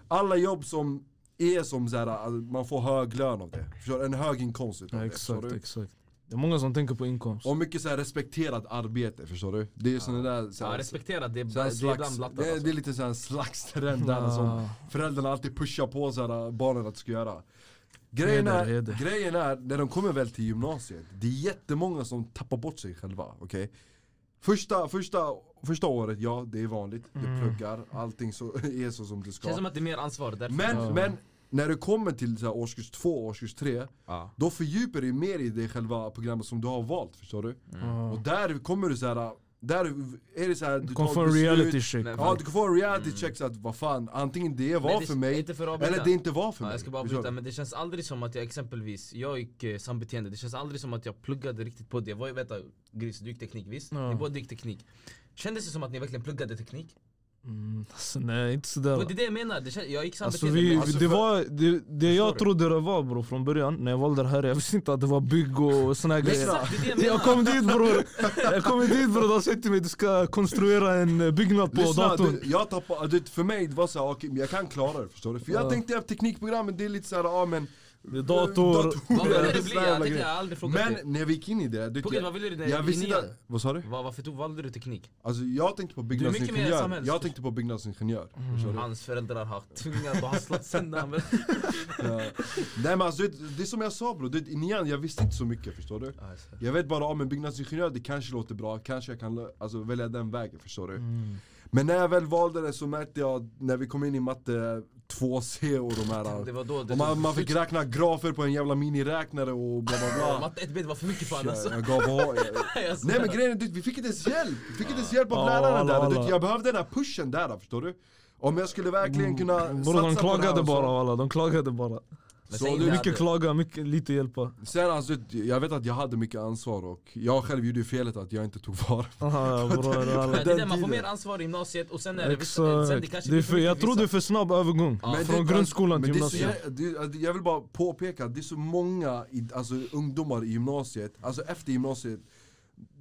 [SPEAKER 1] Alla jobb som är som såhär, alltså, man får hög lön av det Förstår du? En hög inkomst utav
[SPEAKER 3] Ja,
[SPEAKER 1] det, förstår
[SPEAKER 3] exakt,
[SPEAKER 1] du?
[SPEAKER 3] exakt. Det är många som tänker på inkomst.
[SPEAKER 1] Och mycket såhär respekterat arbete, förstår du? Det är sådana där
[SPEAKER 4] Ja,
[SPEAKER 1] såhär,
[SPEAKER 4] respektera, det, det
[SPEAKER 1] såhär
[SPEAKER 4] är
[SPEAKER 1] slags,
[SPEAKER 4] bland
[SPEAKER 1] det,
[SPEAKER 4] blattar
[SPEAKER 1] är-
[SPEAKER 4] alltså.
[SPEAKER 1] det är lite såhär slags trend där
[SPEAKER 3] Ah.
[SPEAKER 1] som föräldrarna alltid pushar på såhär, barnen att ska göra Grejen är,
[SPEAKER 3] Heder, heder.
[SPEAKER 1] grejen är, när de kommer väl till gymnasiet, det är jättemånga som tappar bort sig själva, okej? Första, första, första året, ja det är vanligt, du pluggar, allting så, är så som
[SPEAKER 4] Mm.
[SPEAKER 1] det
[SPEAKER 4] Känns
[SPEAKER 1] ska
[SPEAKER 4] som att det är mer ansvar därför.
[SPEAKER 1] Men,
[SPEAKER 3] Ja.
[SPEAKER 1] men när du kommer till så här, årskurs två, årskurs tre
[SPEAKER 4] Ja.
[SPEAKER 1] Då fördjupar du dig mer i det själva programmet som du har valt, förstår du? Och
[SPEAKER 3] Ah.
[SPEAKER 1] där kommer du så här. där är det så här,
[SPEAKER 3] Du
[SPEAKER 1] du
[SPEAKER 3] kommer
[SPEAKER 1] tar
[SPEAKER 3] få en
[SPEAKER 1] beslut-
[SPEAKER 3] reality check. Mm.
[SPEAKER 4] Men-
[SPEAKER 1] Ja du kan få en reality check så att vad fan, antingen det var
[SPEAKER 4] Men det-
[SPEAKER 1] för mig,
[SPEAKER 4] inte för att avbryta.
[SPEAKER 1] eller det inte var för
[SPEAKER 4] Ja,
[SPEAKER 1] mig
[SPEAKER 4] jag ska bara
[SPEAKER 1] Förstår
[SPEAKER 4] avbryta,
[SPEAKER 1] du?
[SPEAKER 4] men det känns aldrig som att jag exempelvis, jag gick eh, sambeteende, det känns aldrig som att jag pluggade riktigt på det. Jag var ju, vänta, Gris, du gick teknik visst?
[SPEAKER 3] Ja.
[SPEAKER 4] Ni båda gick teknik. Kändes det som att ni verkligen pluggade teknik?
[SPEAKER 3] Mm, alltså, nej, inte sådär.
[SPEAKER 4] Men det är det jag menar, det känns, jag gick
[SPEAKER 3] Alltså,
[SPEAKER 4] sambeteende.
[SPEAKER 3] vi,
[SPEAKER 4] men-
[SPEAKER 1] Alltså,
[SPEAKER 3] det,
[SPEAKER 1] för-
[SPEAKER 3] var, det, det jag
[SPEAKER 4] Förstår
[SPEAKER 3] trodde det var bro från början, när jag valde det här, jag visste inte att det var bygg och såna här grejer
[SPEAKER 4] Exakt, Alltså, det är det jag menar!
[SPEAKER 3] Jag kom dit bror, jag kom dit bror, de sa till mig du ska konstruera en eh, byggnad på
[SPEAKER 1] Lyssna,
[SPEAKER 3] datorn
[SPEAKER 1] du, jag tappade, du, vet, för mig det var såhär, okej men jag kan klara det förstår du? För jag
[SPEAKER 3] Ja.
[SPEAKER 1] tänkte att teknikprogrammet det är lite såhär, ja men
[SPEAKER 3] Dator.
[SPEAKER 4] Vad ville
[SPEAKER 1] och
[SPEAKER 4] det bli?
[SPEAKER 1] såna
[SPEAKER 4] Jag
[SPEAKER 1] jävla
[SPEAKER 4] tänkte jag
[SPEAKER 1] grejer.
[SPEAKER 4] har aldrig frågat dig.
[SPEAKER 1] Men när vi gick in i det, du,
[SPEAKER 4] På
[SPEAKER 1] vet,
[SPEAKER 4] gud,
[SPEAKER 1] jag,
[SPEAKER 4] vad ville du när
[SPEAKER 1] jag visste
[SPEAKER 4] i
[SPEAKER 1] inte,
[SPEAKER 4] nian?
[SPEAKER 1] vad sa du?
[SPEAKER 4] Vad- Varför tog, valde du teknik?
[SPEAKER 1] Alltså jag tänkte på byggnadsingenjör,
[SPEAKER 4] samhälls-
[SPEAKER 1] jag tänkte på byggnadsingenjör
[SPEAKER 4] Mm.
[SPEAKER 1] förstår du?
[SPEAKER 4] Hans föräldrar har tvingat och hasslat sönder honom.
[SPEAKER 1] Ja. Nej men alltså det, det är som jag sa bror, det- i nian jag visste inte så mycket förstår du? Jag vet bara, om en byggnadsingenjör det kanske låter bra, kanske jag kan lö- alltså, välja den vägen förstår du?
[SPEAKER 4] Mm.
[SPEAKER 1] Men när jag väl valde det så märkte jag, när vi kom in i matte 2C och de här
[SPEAKER 4] Det var då det
[SPEAKER 1] och man, man fick räkna grafer på en jävla miniräknare och bla bla bla
[SPEAKER 4] Matte 1B, det var för mycket för
[SPEAKER 1] jag,
[SPEAKER 4] honom alltså.
[SPEAKER 1] jag gav av, jag,
[SPEAKER 4] Jag
[SPEAKER 1] Nej men
[SPEAKER 4] svär.
[SPEAKER 1] grejen är du vet, vi fick inte ens hjälp! Vi fick inte ens hjälp av
[SPEAKER 3] Ja,
[SPEAKER 1] läraren
[SPEAKER 3] alla,
[SPEAKER 1] där, du
[SPEAKER 3] alla.
[SPEAKER 1] vet, jag behövde den här pushen där förstår du? Om jag skulle verkligen kunna
[SPEAKER 3] Bror Mm. de
[SPEAKER 1] satsa på det här
[SPEAKER 3] klagade
[SPEAKER 1] och så-
[SPEAKER 3] bara alla, de klagade bara
[SPEAKER 4] Men
[SPEAKER 1] Så
[SPEAKER 4] säg
[SPEAKER 1] du-
[SPEAKER 4] inte
[SPEAKER 3] Mycket
[SPEAKER 4] att-
[SPEAKER 3] klaga, mycket, lite hjälpa
[SPEAKER 1] Sen alltså, jag vet att jag hade mycket ansvar och jag själv gjorde ju felet att jag inte tog vara
[SPEAKER 3] Aha, bror, det
[SPEAKER 4] Men
[SPEAKER 3] alla.
[SPEAKER 4] det är det,
[SPEAKER 1] den
[SPEAKER 4] man får mer
[SPEAKER 1] tiden.
[SPEAKER 4] ansvar i gymnasiet och sen är det vissa, sen det
[SPEAKER 3] Exakt,
[SPEAKER 4] kanske
[SPEAKER 3] det är
[SPEAKER 4] blir
[SPEAKER 3] för,
[SPEAKER 4] mycket
[SPEAKER 3] jag tror det är för snabb övergång
[SPEAKER 4] Ja.
[SPEAKER 1] Men
[SPEAKER 3] Från
[SPEAKER 1] det-
[SPEAKER 3] grundskolan
[SPEAKER 1] men
[SPEAKER 3] till
[SPEAKER 1] det är så
[SPEAKER 3] gymnasiet
[SPEAKER 1] jä- det- alltså, Jag vill bara påpeka att det är så många i, alltså, ungdomar i gymnasiet, alltså efter gymnasiet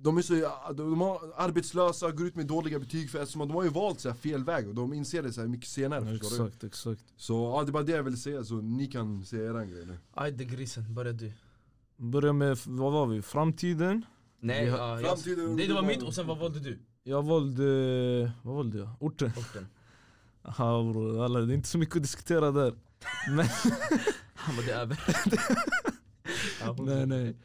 [SPEAKER 1] de är så, de är arbetslösa, går ut med dåliga betyg för eftersom att de har ju valt så här fel väg och de inser det så här mycket senare förstår du?
[SPEAKER 3] Exakt, exakt
[SPEAKER 1] Så ja, det är bara det jag ville säga så ni kan säga eran grej nu
[SPEAKER 4] Ajde grisen, börja du.
[SPEAKER 3] Börja med, vad var vi? Framtiden
[SPEAKER 4] Nej,
[SPEAKER 3] Vi
[SPEAKER 4] ja,
[SPEAKER 3] har-
[SPEAKER 4] jag,
[SPEAKER 1] Framtiden
[SPEAKER 4] nej det var
[SPEAKER 1] ungdomar.
[SPEAKER 4] mitt och sen vad valde du?
[SPEAKER 3] Jag valde, vad valde jag? Orten
[SPEAKER 4] Orten.
[SPEAKER 3] Ja bror, alla, det är inte så mycket att diskutera där. Men,
[SPEAKER 4] Han bara det är över. Ja, fortsätt.
[SPEAKER 3] nej, nej.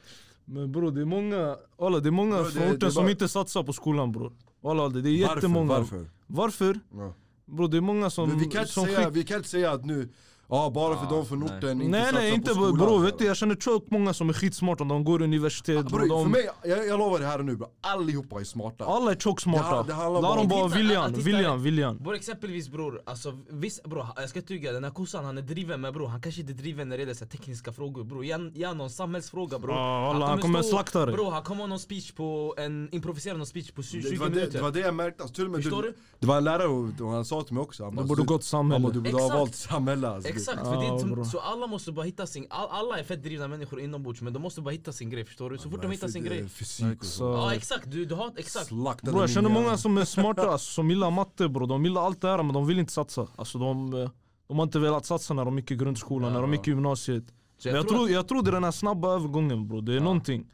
[SPEAKER 3] Men bror det är många, alla, det är många
[SPEAKER 1] Bror, det-
[SPEAKER 3] från
[SPEAKER 1] det är
[SPEAKER 3] orten som
[SPEAKER 1] bara-
[SPEAKER 3] inte satsar på skolan bror. Alla, det är jättemånga.
[SPEAKER 1] Varför? Varför?
[SPEAKER 3] Varför?
[SPEAKER 1] Ja.
[SPEAKER 3] Bror det är många som,
[SPEAKER 1] Men vi, kan inte
[SPEAKER 3] som
[SPEAKER 1] säga, vi kan inte säga att nu, Ja, bara för
[SPEAKER 5] Ja,
[SPEAKER 1] de från
[SPEAKER 5] nej.
[SPEAKER 1] orten inte
[SPEAKER 3] Nej
[SPEAKER 1] satsar
[SPEAKER 3] nej
[SPEAKER 1] på
[SPEAKER 3] inte
[SPEAKER 1] skolan.
[SPEAKER 3] bror, vet du jag känner tjockt många som är skitsmarta, de går universitet
[SPEAKER 1] Bror, för
[SPEAKER 3] bror, de,
[SPEAKER 1] mig, jag, jag lovar det här och nu bro. allihopa är smarta.
[SPEAKER 3] alla är tjockt
[SPEAKER 1] Det
[SPEAKER 3] smarta.
[SPEAKER 1] här- det handlar
[SPEAKER 3] Där har
[SPEAKER 1] bara
[SPEAKER 3] de
[SPEAKER 1] om-
[SPEAKER 3] bara
[SPEAKER 2] Titta,
[SPEAKER 3] viljan,
[SPEAKER 2] titta.
[SPEAKER 3] viljan, viljan.
[SPEAKER 2] Bror exempelvis bror, alltså visst bror, jag ska inte ljuga, den här kossan han är driven med bror, han kanske inte är driven när det gäller så här tekniska frågor bror. Ge ja, någon samhällsfråga bror.
[SPEAKER 3] Ja, alla, han kommer slakta dig.
[SPEAKER 2] Bror han kommer ha någon speech på, en improviserad någon speech på 20,
[SPEAKER 1] det,
[SPEAKER 2] 20
[SPEAKER 1] var det,
[SPEAKER 2] minuter.
[SPEAKER 1] det var det jag märkte, alltså, till och med
[SPEAKER 2] Förstår du?
[SPEAKER 1] det var en lärare och- och han sa till mig också. Han
[SPEAKER 3] Det
[SPEAKER 1] bara,
[SPEAKER 3] borde
[SPEAKER 1] "Så-
[SPEAKER 3] gått
[SPEAKER 1] han bara,
[SPEAKER 3] samhälle.
[SPEAKER 1] du borde ha
[SPEAKER 2] Exakt.
[SPEAKER 1] valt samhälle alltså.
[SPEAKER 2] Exakt, för det är
[SPEAKER 3] Ja,
[SPEAKER 2] inte,
[SPEAKER 3] bror.
[SPEAKER 2] så alla måste bara hitta sin, all, alla är fett drivna människor inombords men de måste bara hitta sin grej förstår du? Så fort de
[SPEAKER 1] alltså,
[SPEAKER 2] hittar sin grej.
[SPEAKER 1] Fysik och så.
[SPEAKER 3] Så-
[SPEAKER 2] Ja exakt, du, du har exakt.
[SPEAKER 1] Slaktade
[SPEAKER 3] Bro, jag
[SPEAKER 1] min
[SPEAKER 3] känner
[SPEAKER 1] hjärna.
[SPEAKER 3] många som är smarta, alltså, som gillar matte bro. De gillar allt det här men de vill inte satsa. Alltså, de, eh, de har inte velat satsa när de gick i grundskolan, när de gick i gymnasiet.
[SPEAKER 2] Så
[SPEAKER 3] Men jag, tror, jag tror det är den här snabba övergången bro. Det är någonting.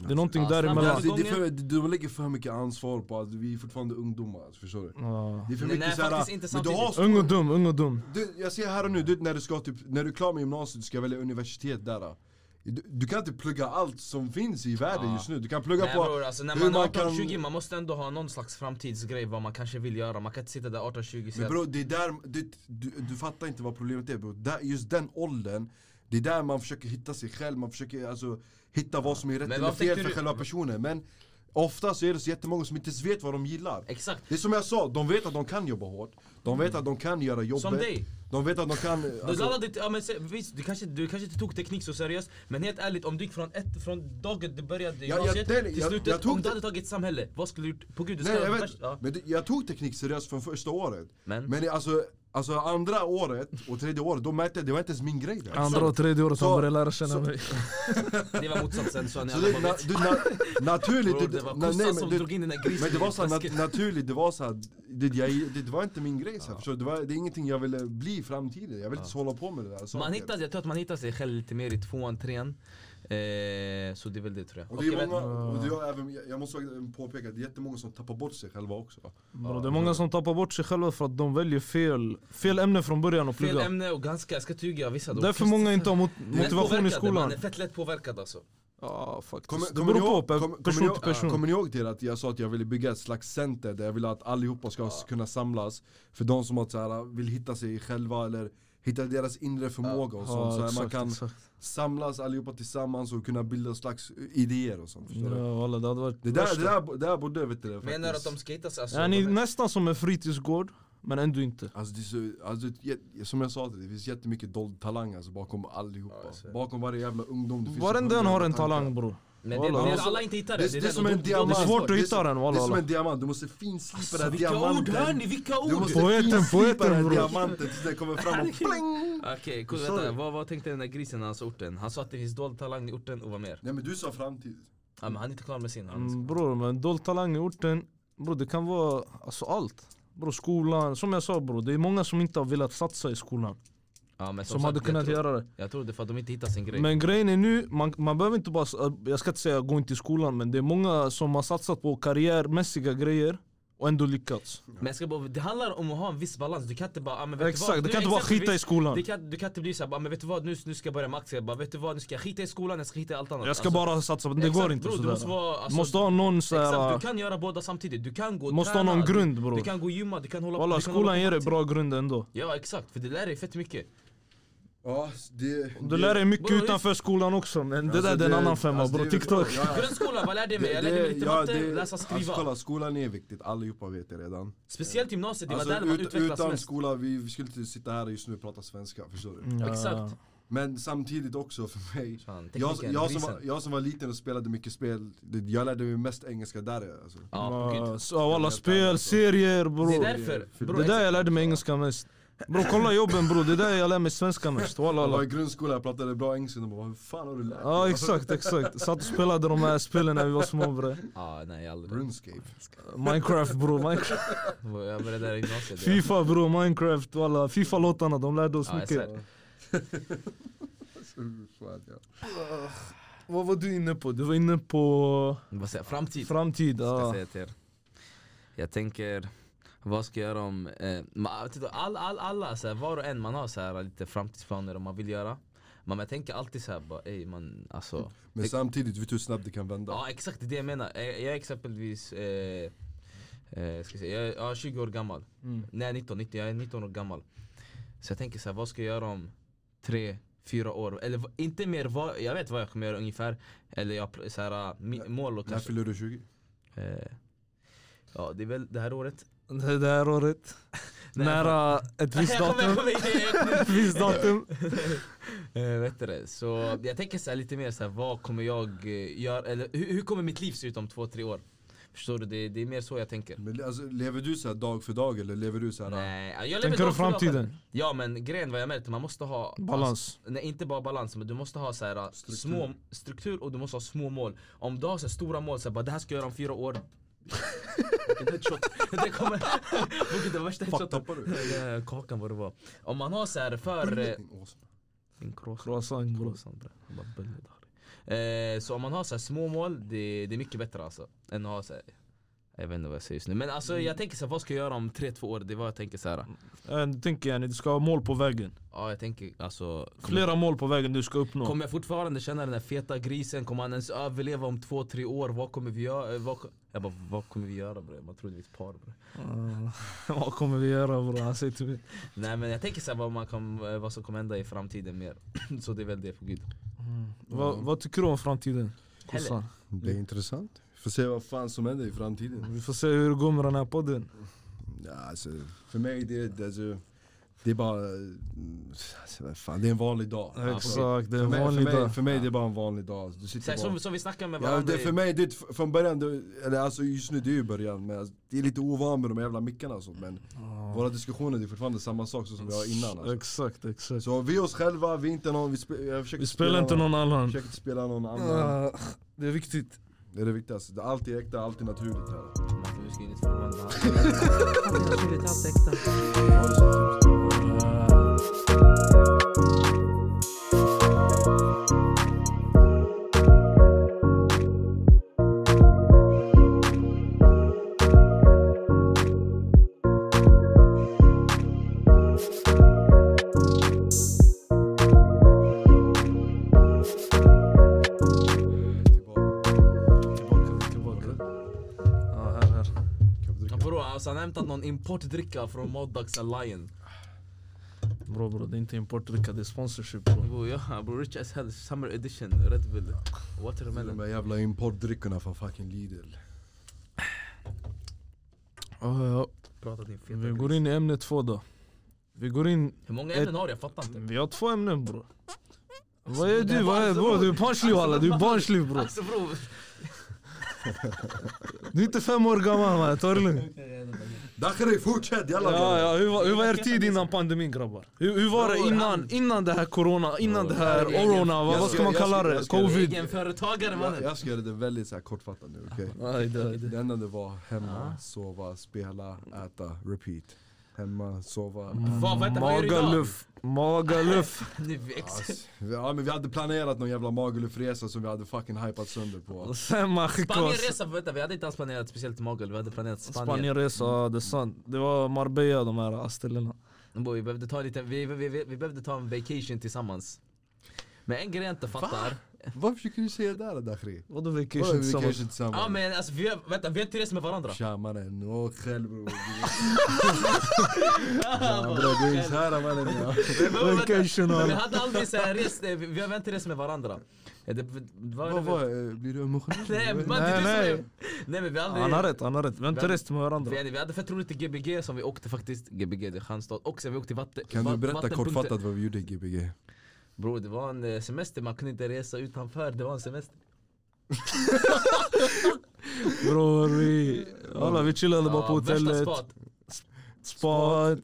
[SPEAKER 3] Det är någonting
[SPEAKER 2] Ja,
[SPEAKER 1] Men
[SPEAKER 3] däremellan.
[SPEAKER 2] snabba-
[SPEAKER 1] alltså, det, det är för, de lägger för mycket ansvar på att vi är fortfarande ungdomar, alltså, förstår du?
[SPEAKER 3] Ja.
[SPEAKER 1] Det är för
[SPEAKER 2] Nej,
[SPEAKER 1] mycket
[SPEAKER 2] nej,
[SPEAKER 1] såhär,
[SPEAKER 2] faktiskt inte
[SPEAKER 1] men du har
[SPEAKER 2] samtidigt.
[SPEAKER 1] stor-
[SPEAKER 3] Ung och dum, ung och dum.
[SPEAKER 1] Du, jag ser här och nu, du, när, du ska, typ, när du är klar med gymnasiet, du ska välja universitet där. Du, du kan inte plugga allt som finns i världen
[SPEAKER 2] Ja.
[SPEAKER 1] just nu. Du kan plugga
[SPEAKER 2] Nej
[SPEAKER 1] på...
[SPEAKER 2] bror, alltså när
[SPEAKER 1] hur
[SPEAKER 2] man
[SPEAKER 1] man
[SPEAKER 2] är 18-20
[SPEAKER 1] kan-
[SPEAKER 2] man, måste ändå ha någon slags framtidsgrej vad man kanske vill göra, man kan inte sitta där 18-20 och säga
[SPEAKER 1] men
[SPEAKER 2] att-
[SPEAKER 1] bro, det är där, det, du, du fattar inte vad problemet är bro. Där, just den åldern, det är där man försöker hitta sig själv, man försöker alltså, hitta vad som är rätt
[SPEAKER 2] Men
[SPEAKER 1] eller
[SPEAKER 2] vad
[SPEAKER 1] fel
[SPEAKER 2] tänkte
[SPEAKER 1] för
[SPEAKER 2] du-
[SPEAKER 1] själva personen. Men ofta så är det så jättemånga som inte ens vet vad de gillar.
[SPEAKER 2] Exakt,
[SPEAKER 1] Det är som jag sa, de vet att de kan jobba hårt, de vet att de kan göra jobbet.
[SPEAKER 2] Mm. som dig!
[SPEAKER 1] De vet att de kan...
[SPEAKER 2] Du
[SPEAKER 1] Alltså,
[SPEAKER 2] laddade inte, ja, men se, visst, du kanske, du kanske inte tog teknik så seriöst Men helt ärligt, om du gick från, ett, från dagen du började
[SPEAKER 1] jag-
[SPEAKER 2] gymnasiet
[SPEAKER 1] det-
[SPEAKER 2] till
[SPEAKER 1] jag-
[SPEAKER 2] slutet
[SPEAKER 1] jag tog
[SPEAKER 2] Om
[SPEAKER 1] det-
[SPEAKER 2] du hade tagit samhälle, vad skulle du gjort? På gud, du ska
[SPEAKER 1] nej, jag, vet,
[SPEAKER 2] värst- ja. Mm.
[SPEAKER 1] men det, jag tog teknik seriöst från första året.
[SPEAKER 2] Men,
[SPEAKER 1] Men alltså, alltså andra året och tredje året, då märkte jag det var inte ens min grej. Där.
[SPEAKER 2] Alltså,
[SPEAKER 3] Andra och tredje året
[SPEAKER 1] Så-
[SPEAKER 3] han börjar lära känna
[SPEAKER 1] så-
[SPEAKER 3] mig.
[SPEAKER 2] det var motsatsen så ni
[SPEAKER 1] Så
[SPEAKER 2] alla
[SPEAKER 1] det, na,
[SPEAKER 2] bara vet
[SPEAKER 1] du, na, naturligt,
[SPEAKER 2] Bror,
[SPEAKER 1] du,
[SPEAKER 2] det var
[SPEAKER 1] na, nej,
[SPEAKER 2] kossan som
[SPEAKER 1] men, du,
[SPEAKER 2] drog in den där grisen
[SPEAKER 1] men det var så här,
[SPEAKER 2] i
[SPEAKER 1] nat,
[SPEAKER 2] tasken.
[SPEAKER 1] naturligt, det var så här, det, jag, det, det var inte min grej. Så här, förstår du? det, var, det är ingenting jag ville bli i framtiden, jag ville inte hålla på med det där.
[SPEAKER 2] man
[SPEAKER 1] saker.
[SPEAKER 2] hittar, Jag tror att man hittar sig själv lite mer i tvåan, trean eh, Så det är väl det tror jag
[SPEAKER 1] och det är
[SPEAKER 2] Okej,
[SPEAKER 1] många,
[SPEAKER 2] men-
[SPEAKER 1] och det är även, jag måste även påpeka att det är jättemånga som tappar bort sig själva också.
[SPEAKER 3] Bro, det är många som tappar bort sig själva för att de väljer fel, fel ämne från början att
[SPEAKER 2] Fel
[SPEAKER 3] plugga.
[SPEAKER 2] ämne och ganska, jag ska inte ljuga, vissa då
[SPEAKER 3] Därför många inte har mot- motivation i
[SPEAKER 2] Lättpåverkade,
[SPEAKER 3] skolan.
[SPEAKER 2] Man är fett lätt påverkad alltså
[SPEAKER 3] Ja, faktiskt.
[SPEAKER 1] Kommer,
[SPEAKER 3] det
[SPEAKER 1] kommer, ni
[SPEAKER 3] beror
[SPEAKER 1] ihåg,
[SPEAKER 3] på,
[SPEAKER 1] kommer,
[SPEAKER 3] pe- person till
[SPEAKER 1] kommer, ni,
[SPEAKER 3] person.
[SPEAKER 1] ihåg- kommer ni ihåg till att jag sa att jag ville bygga ett slags center där jag ville att allihopa ska kunna samlas För de som har så här, vill hitta sig själva eller hitta deras inre förmåga och sånt så
[SPEAKER 3] Ja,
[SPEAKER 1] här, man
[SPEAKER 3] exakt,
[SPEAKER 1] kan
[SPEAKER 3] exakt.
[SPEAKER 1] samlas allihopa tillsammans och kunna bilda slags idéer och sånt förstår du?
[SPEAKER 3] Ja, walla, det hade varit
[SPEAKER 1] Det där,
[SPEAKER 3] värsta.
[SPEAKER 1] det där, det där borde vet du det,
[SPEAKER 2] Menar du att de
[SPEAKER 1] faktiskt.
[SPEAKER 2] ska hitta sig? Alltså,
[SPEAKER 3] Ja, ni är
[SPEAKER 2] de-
[SPEAKER 3] nästan som en fritidsgård, men ändå inte.
[SPEAKER 1] Alltså, det är så, alltså det är jät- som jag sa till dig, det finns jättemycket dold talang alltså, bakom allihopa
[SPEAKER 2] Ja, jag ser.
[SPEAKER 1] Bakom varje jävla ungdom det finns
[SPEAKER 3] Varenda en har en talang bror.
[SPEAKER 2] Men det,
[SPEAKER 3] Walla,
[SPEAKER 2] det,
[SPEAKER 3] alltså,
[SPEAKER 2] alla inte hittar det,
[SPEAKER 1] Det, det, är
[SPEAKER 2] där
[SPEAKER 1] som
[SPEAKER 2] de-
[SPEAKER 1] en
[SPEAKER 2] de- de-
[SPEAKER 1] diamant
[SPEAKER 3] det är svårt att
[SPEAKER 1] Det
[SPEAKER 3] hitta den,
[SPEAKER 1] Det är
[SPEAKER 3] walla,
[SPEAKER 1] som
[SPEAKER 3] walla.
[SPEAKER 1] en diamant, du måste finslipa den här
[SPEAKER 2] Alltså, Vilka
[SPEAKER 1] diamanten
[SPEAKER 2] ord hör ni? Vilka
[SPEAKER 1] Du
[SPEAKER 2] ord!
[SPEAKER 1] måste
[SPEAKER 3] Poeten,
[SPEAKER 1] finslipa
[SPEAKER 3] poeten,
[SPEAKER 1] den här
[SPEAKER 3] bror.
[SPEAKER 1] diamanten tills den kommer fram och pling!
[SPEAKER 2] Okej, cool,
[SPEAKER 1] Sorry.
[SPEAKER 2] vänta, vad, vad tänkte den där grisen när han sa orten? Han sa att det finns dold talang i orten och vad mer?
[SPEAKER 1] Nej men du sa framtid.
[SPEAKER 2] Ja, men han är inte klar med sin. Han
[SPEAKER 3] Mm, bror, men dold talang i orten, bror det kan vara alltså, allt. Bror skolan, som jag sa bror, det är många som inte har velat satsa i skolan.
[SPEAKER 2] ja, men
[SPEAKER 3] Som hade
[SPEAKER 2] sagt,
[SPEAKER 3] kunnat
[SPEAKER 2] jag tror,
[SPEAKER 3] göra det.
[SPEAKER 2] Jag tror det är för att de inte hittar sin grej.
[SPEAKER 3] Men grejen är nu, man, man behöver inte bara, eh, jag ska inte säga gå inte till skolan men det är många som har satsat på karriärmässiga grejer och ändå lyckats.
[SPEAKER 2] Men jag ska bara, det handlar om att ha en viss balans, du kan inte bara... Ah, men vet du
[SPEAKER 3] Exakt,
[SPEAKER 2] vad?
[SPEAKER 3] du kan inte bara skita i
[SPEAKER 2] Du
[SPEAKER 3] skolan.
[SPEAKER 2] kan, du kan inte bli såhär, ah, men vet du vad nu, nu ska jag börja med aktier, Jag bara, vet du vad nu ska jag skita i skolan, jag ska skita i allt annat.
[SPEAKER 3] Jag ska
[SPEAKER 2] Alltså,
[SPEAKER 3] bara satsa, men det
[SPEAKER 2] exakt,
[SPEAKER 3] går inte
[SPEAKER 2] bror, du måste,
[SPEAKER 3] sådär.
[SPEAKER 2] vara, alltså,
[SPEAKER 3] Måste ha någon såhär,
[SPEAKER 2] Exakt, du kan göra båda samtidigt. Du kan gå och
[SPEAKER 3] måste ha
[SPEAKER 2] träna,
[SPEAKER 3] någon
[SPEAKER 2] du-
[SPEAKER 3] grund bror.
[SPEAKER 2] Du kan gå och gymma, du kan hålla
[SPEAKER 3] Walla
[SPEAKER 2] du kan hålla
[SPEAKER 3] eh, skolan
[SPEAKER 2] på
[SPEAKER 3] ger dig
[SPEAKER 2] med
[SPEAKER 3] bra grund ändå.
[SPEAKER 2] allting. Ja exakt, för det lär dig fett mycket.
[SPEAKER 1] Ja, det...
[SPEAKER 3] Du lär dig mycket
[SPEAKER 2] Bror, det-
[SPEAKER 3] utanför skolan också men det där
[SPEAKER 1] Alltså,
[SPEAKER 3] det är en annan femma
[SPEAKER 1] alltså,
[SPEAKER 3] bror,
[SPEAKER 1] det-
[SPEAKER 3] TikTok.
[SPEAKER 1] ja, ja.
[SPEAKER 2] Grundskolan, vad lärde jag mig?
[SPEAKER 1] Det-
[SPEAKER 2] Jag lärde
[SPEAKER 1] det-
[SPEAKER 2] mig lite
[SPEAKER 1] ja,
[SPEAKER 2] matte,
[SPEAKER 1] det-
[SPEAKER 2] läsa,
[SPEAKER 1] Alltså,
[SPEAKER 2] skriva.
[SPEAKER 1] kolla, skolan är viktigt, allihopa vet det redan.
[SPEAKER 2] Speciellt gymnasiet, det var
[SPEAKER 1] Alltså,
[SPEAKER 2] där man
[SPEAKER 1] ut-
[SPEAKER 2] utvecklas
[SPEAKER 1] utan
[SPEAKER 2] mest. Mm.
[SPEAKER 1] skola, vi, vi skulle inte sitta här just nu och prata svenska, förstår du?
[SPEAKER 3] Ja.
[SPEAKER 2] Exakt.
[SPEAKER 1] Men samtidigt också för mig,
[SPEAKER 2] Fan,
[SPEAKER 1] jag,
[SPEAKER 2] tekniken,
[SPEAKER 1] jag, som var,
[SPEAKER 2] grisen.
[SPEAKER 1] jag som var liten och spelade mycket spel, det- jag lärde mig mest engelska där alltså.
[SPEAKER 2] Ja, på gud.
[SPEAKER 3] Ja, så- ja, Walla spel, serier
[SPEAKER 2] Det är
[SPEAKER 3] bror.
[SPEAKER 2] därför. Bro,
[SPEAKER 3] Det där jag lärde mig engelska mest. Bror kolla jobben bror, det där jag lär mig svenska mest. Walla
[SPEAKER 1] Jag
[SPEAKER 3] walla.
[SPEAKER 1] var i grundskolan, jag pratade bra engelska, de bara hur fan har du lärt
[SPEAKER 3] Ja exakt, exakt. Satt och spelade de här spelen när vi var små bre.
[SPEAKER 2] ah, nej aldrig.
[SPEAKER 1] Runescape.
[SPEAKER 3] Minecraft bror, Minecraft.
[SPEAKER 2] Jag började där i gymnasiet. ja.
[SPEAKER 3] Fifa bror, Minecraft. Alla Fifa-låtarna, de lärde oss
[SPEAKER 2] Ja, jag
[SPEAKER 3] mycket.
[SPEAKER 2] ser.
[SPEAKER 1] Så, fan, ja.
[SPEAKER 3] Vad var du inne på? Du var inne på
[SPEAKER 2] Vad säger jag? Framtid.
[SPEAKER 3] framtid.
[SPEAKER 2] ska jag
[SPEAKER 3] Ja.
[SPEAKER 2] säga till er. Jag tänker, vad ska jag göra om... Eh, ma- titta, all, all, alla, så här, var och en, man har så här, lite framtidsplaner om man vill göra. Men jag tänker alltid så här, bara, ey, man, alltså,
[SPEAKER 1] Men
[SPEAKER 2] Det-
[SPEAKER 1] samtidigt, vet du hur snabbt det kan vända?
[SPEAKER 2] ja exakt det är det jag menar. Jag, jag är exempelvis, eh, eh, ska jag, säga, jag, är, jag är 20 år gammal.
[SPEAKER 3] Mm.
[SPEAKER 2] Nej 19, 19, jag är 19 år gammal. Så jag tänker så här, vad ska jag göra om tre, fyra år? Eller v- inte mer, vad, jag vet vad jag kommer göra ungefär. Eller jag, pr- så här, äh, mi- mål och
[SPEAKER 1] När
[SPEAKER 2] kanske.
[SPEAKER 1] fyller du 20?
[SPEAKER 2] Eh, ja, det är väl det här året.
[SPEAKER 3] Det det här året,
[SPEAKER 2] Nej,
[SPEAKER 3] nära ett visst
[SPEAKER 2] Jag kommer- jag
[SPEAKER 3] datum.
[SPEAKER 2] kommer-
[SPEAKER 3] Ett visst datum.
[SPEAKER 2] Eh, vet du det? Så jag tänker så här lite mer så här, vad kommer jag eh, göra, eller hur, hur kommer mitt liv se ut om två, tre år? Förstår du? Det, det är mer så jag tänker.
[SPEAKER 1] Men le- alltså, lever du så här dag för dag eller lever du så här?
[SPEAKER 2] Nej, jag lever
[SPEAKER 3] Tänker du
[SPEAKER 2] dag för dag själv.
[SPEAKER 3] framtiden?
[SPEAKER 2] Ja men grejen vad jag märkt, man måste ha
[SPEAKER 3] Balans.
[SPEAKER 2] Alltså, nej inte bara balans, men du måste ha så här, äh,
[SPEAKER 1] Struktur.
[SPEAKER 2] små struktur och du måste ha små mål Om du har så här, stora mål, så här, bara, det här ska jag göra om fyra år Vilken headshot, det kommer, vilket det var värsta
[SPEAKER 1] Fuck,
[SPEAKER 2] headshoten
[SPEAKER 1] tappar du?
[SPEAKER 2] Eh, Kakan vad det var Om man har så här för... eh, Din croissant
[SPEAKER 3] Croissant bror.
[SPEAKER 2] Croissant, bra. Jag bara, "Bölle, det har du." Eh, Så om man har så här små mål, det, det är mycket bättre alltså Än att ha så här, jag vet inte vad jag säger just nu Men alltså jag tänker så här, vad ska jag göra om 3-2 år? Det är vad jag tänker så här.
[SPEAKER 3] Eh, Du tänker yani, du ska ha mål på vägen.
[SPEAKER 2] Ja jag tänker alltså kommer,
[SPEAKER 3] Flera mål på vägen du ska uppnå.
[SPEAKER 2] kommer jag fortfarande känna den där feta grisen? Kommer han ens överleva om två, tre år? Vad kommer vi göra? Eh, Vad, ko- jag bara vad kommer vi göra bre? Man trodde vi är ett par bre.
[SPEAKER 3] Eh, Vad kommer vi göra bror? Han säger till mig.
[SPEAKER 2] Nej men jag tänker såhär vad, man kan- eh, vad som kommer hända i framtiden mer Så det är väl det på gud
[SPEAKER 3] Vad, vad tycker du om framtiden?
[SPEAKER 2] Heller.
[SPEAKER 3] Kossan?
[SPEAKER 1] Det är intressant. Får se vad fan som händer i framtiden.
[SPEAKER 3] Vi får se hur det går med den här podden.
[SPEAKER 1] Ja, alltså, för mig det, det, alltså, det är bara... mm, Alltså, vad fan, det är en vanlig dag. Alltså,
[SPEAKER 3] Exakt, det är
[SPEAKER 1] För
[SPEAKER 3] en
[SPEAKER 1] mig,
[SPEAKER 3] vanlig
[SPEAKER 1] för mig,
[SPEAKER 3] dag.
[SPEAKER 1] för mig det är bara en vanlig dag. Alltså, Du
[SPEAKER 2] så
[SPEAKER 1] sitter
[SPEAKER 2] här,
[SPEAKER 1] bara,
[SPEAKER 2] som, som vi snackar med
[SPEAKER 1] ja,
[SPEAKER 2] varandra
[SPEAKER 1] det,
[SPEAKER 2] i-
[SPEAKER 1] för mig, det, är- från början, det, eller alltså just nu det är ju början, men alltså, det är lite ovan med de jävla mickarna och sånt men
[SPEAKER 3] Ja.
[SPEAKER 1] våra diskussioner det är fortfarande samma sak som vi har innan alltså.
[SPEAKER 3] Exakt, exakt.
[SPEAKER 1] Så vi är oss själva, vi är inte någon, vi, spe, jag försöker
[SPEAKER 3] Vi spelar inte någon annan.
[SPEAKER 1] försöker inte spela någon annan.
[SPEAKER 3] Ah, Det är viktigt.
[SPEAKER 1] Det är det viktigaste, det är alltid äkta, alltid naturligt här.
[SPEAKER 2] Nu ska jag inte förvåna
[SPEAKER 1] Ha det så. Tillbaka.
[SPEAKER 3] Tillbaka, tillbaka. Ja, här, här.
[SPEAKER 1] Kan vi dricka?
[SPEAKER 2] Bror alltså han har hämtat någon importdricka från Moddags Lion
[SPEAKER 3] Bro, bro, det är inte importdricka, det är sponsorship bro.
[SPEAKER 2] Bror ja, bror rich as hell, summer edition, Red Bull
[SPEAKER 1] Med de
[SPEAKER 2] Watermelon
[SPEAKER 1] där jävla importdrickorna från fucking Lidl.
[SPEAKER 3] Ja, ja.
[SPEAKER 2] Prata din feta
[SPEAKER 3] Vi
[SPEAKER 2] gris.
[SPEAKER 3] går in i ämne två då. Vi går in...
[SPEAKER 2] Hur många ämnen
[SPEAKER 3] Ett-
[SPEAKER 2] har du? Jag fattar inte
[SPEAKER 3] Vi har två ämnen bro. Vad är
[SPEAKER 2] det
[SPEAKER 3] du? Vad är,
[SPEAKER 2] var-
[SPEAKER 3] bro, du är barnslig walla, du är barnslig bro.
[SPEAKER 2] Alltså bror
[SPEAKER 3] Du är inte fem år gammal man, ta det lugnt.
[SPEAKER 1] Dakhri fortsätt jalla!
[SPEAKER 3] Ja,
[SPEAKER 1] grabbar.
[SPEAKER 3] ja, hur, var- hur var er tid innan pandemin grabbar? Hur, hur var det innan, innan det här corona, innan det här orona, vad, vad ska man kalla det? Covid?
[SPEAKER 2] Egenföretagare
[SPEAKER 1] Jag,
[SPEAKER 2] mannen
[SPEAKER 1] jag ska göra det väldigt så här kortfattat nu okej?
[SPEAKER 3] Aj, det, aj, det.
[SPEAKER 1] Det enda det var hemma, sova, spela, äta, repeat. Hemma, sova,
[SPEAKER 3] Mm.
[SPEAKER 1] äta.
[SPEAKER 2] Vad, vänta, vad gör du idag?
[SPEAKER 3] Magaluff, magaluff.
[SPEAKER 2] Nu vi ex-
[SPEAKER 1] Ass. Ja men vi hade planerat någon jävla magalufresa som vi hade fucking hypat sönder på.
[SPEAKER 3] Sen man skickade oss.
[SPEAKER 2] Spanienresa, vänta vi hade inte alls planerat speciellt Magal, vi hade planerat Spanien
[SPEAKER 3] Spanienresa, ja, det är sant. Det var Marbella de här ställena.
[SPEAKER 2] Boy, vi, behövde ta en liten, vi, vi, vi, vi behövde ta en vacation tillsammans Men en grej jag inte fattar
[SPEAKER 1] Vad försöker du säga där Dakhri?
[SPEAKER 3] Vadå vacation
[SPEAKER 1] Vadå vi kanske
[SPEAKER 3] tillsammans?
[SPEAKER 2] Ja
[SPEAKER 1] tillsammans?
[SPEAKER 2] men alltså vi har, vänta vi har inte rest med varandra
[SPEAKER 1] Tja mannen, åk själv bror. Ja, bror, Du är så här mannen ja.
[SPEAKER 2] Men vänta,
[SPEAKER 3] Vacation,
[SPEAKER 2] men Vi
[SPEAKER 3] alla.
[SPEAKER 2] hade aldrig så här rest, eh, vi vi har inte rest med varandra Eh, det- det var-
[SPEAKER 1] Vad var det? Blir du emotionell?
[SPEAKER 2] Nej, man,
[SPEAKER 3] Nej,
[SPEAKER 2] nej,
[SPEAKER 3] nej.
[SPEAKER 2] nej. nej men vi har aldrig
[SPEAKER 3] Han har rätt, han har rätt. Vi har inte
[SPEAKER 2] Vem-
[SPEAKER 3] rest med varandra.
[SPEAKER 2] vi, vi hade fett roligt i Gbg som vi åkte faktiskt, Gbg det är Kristianstad, och sen vi åkte till vatten
[SPEAKER 1] Kan du
[SPEAKER 2] vatt-
[SPEAKER 1] berätta
[SPEAKER 2] vattenpunkter.
[SPEAKER 1] kortfattat vad vi gjorde i Gbg?
[SPEAKER 2] Bror det var en eh, semester, man kunde inte resa utanför, det var en semester
[SPEAKER 3] Bror vi... Alla, vi chillade bara på
[SPEAKER 2] Ja, värsta
[SPEAKER 3] hotellet.
[SPEAKER 2] spat.
[SPEAKER 3] Spat.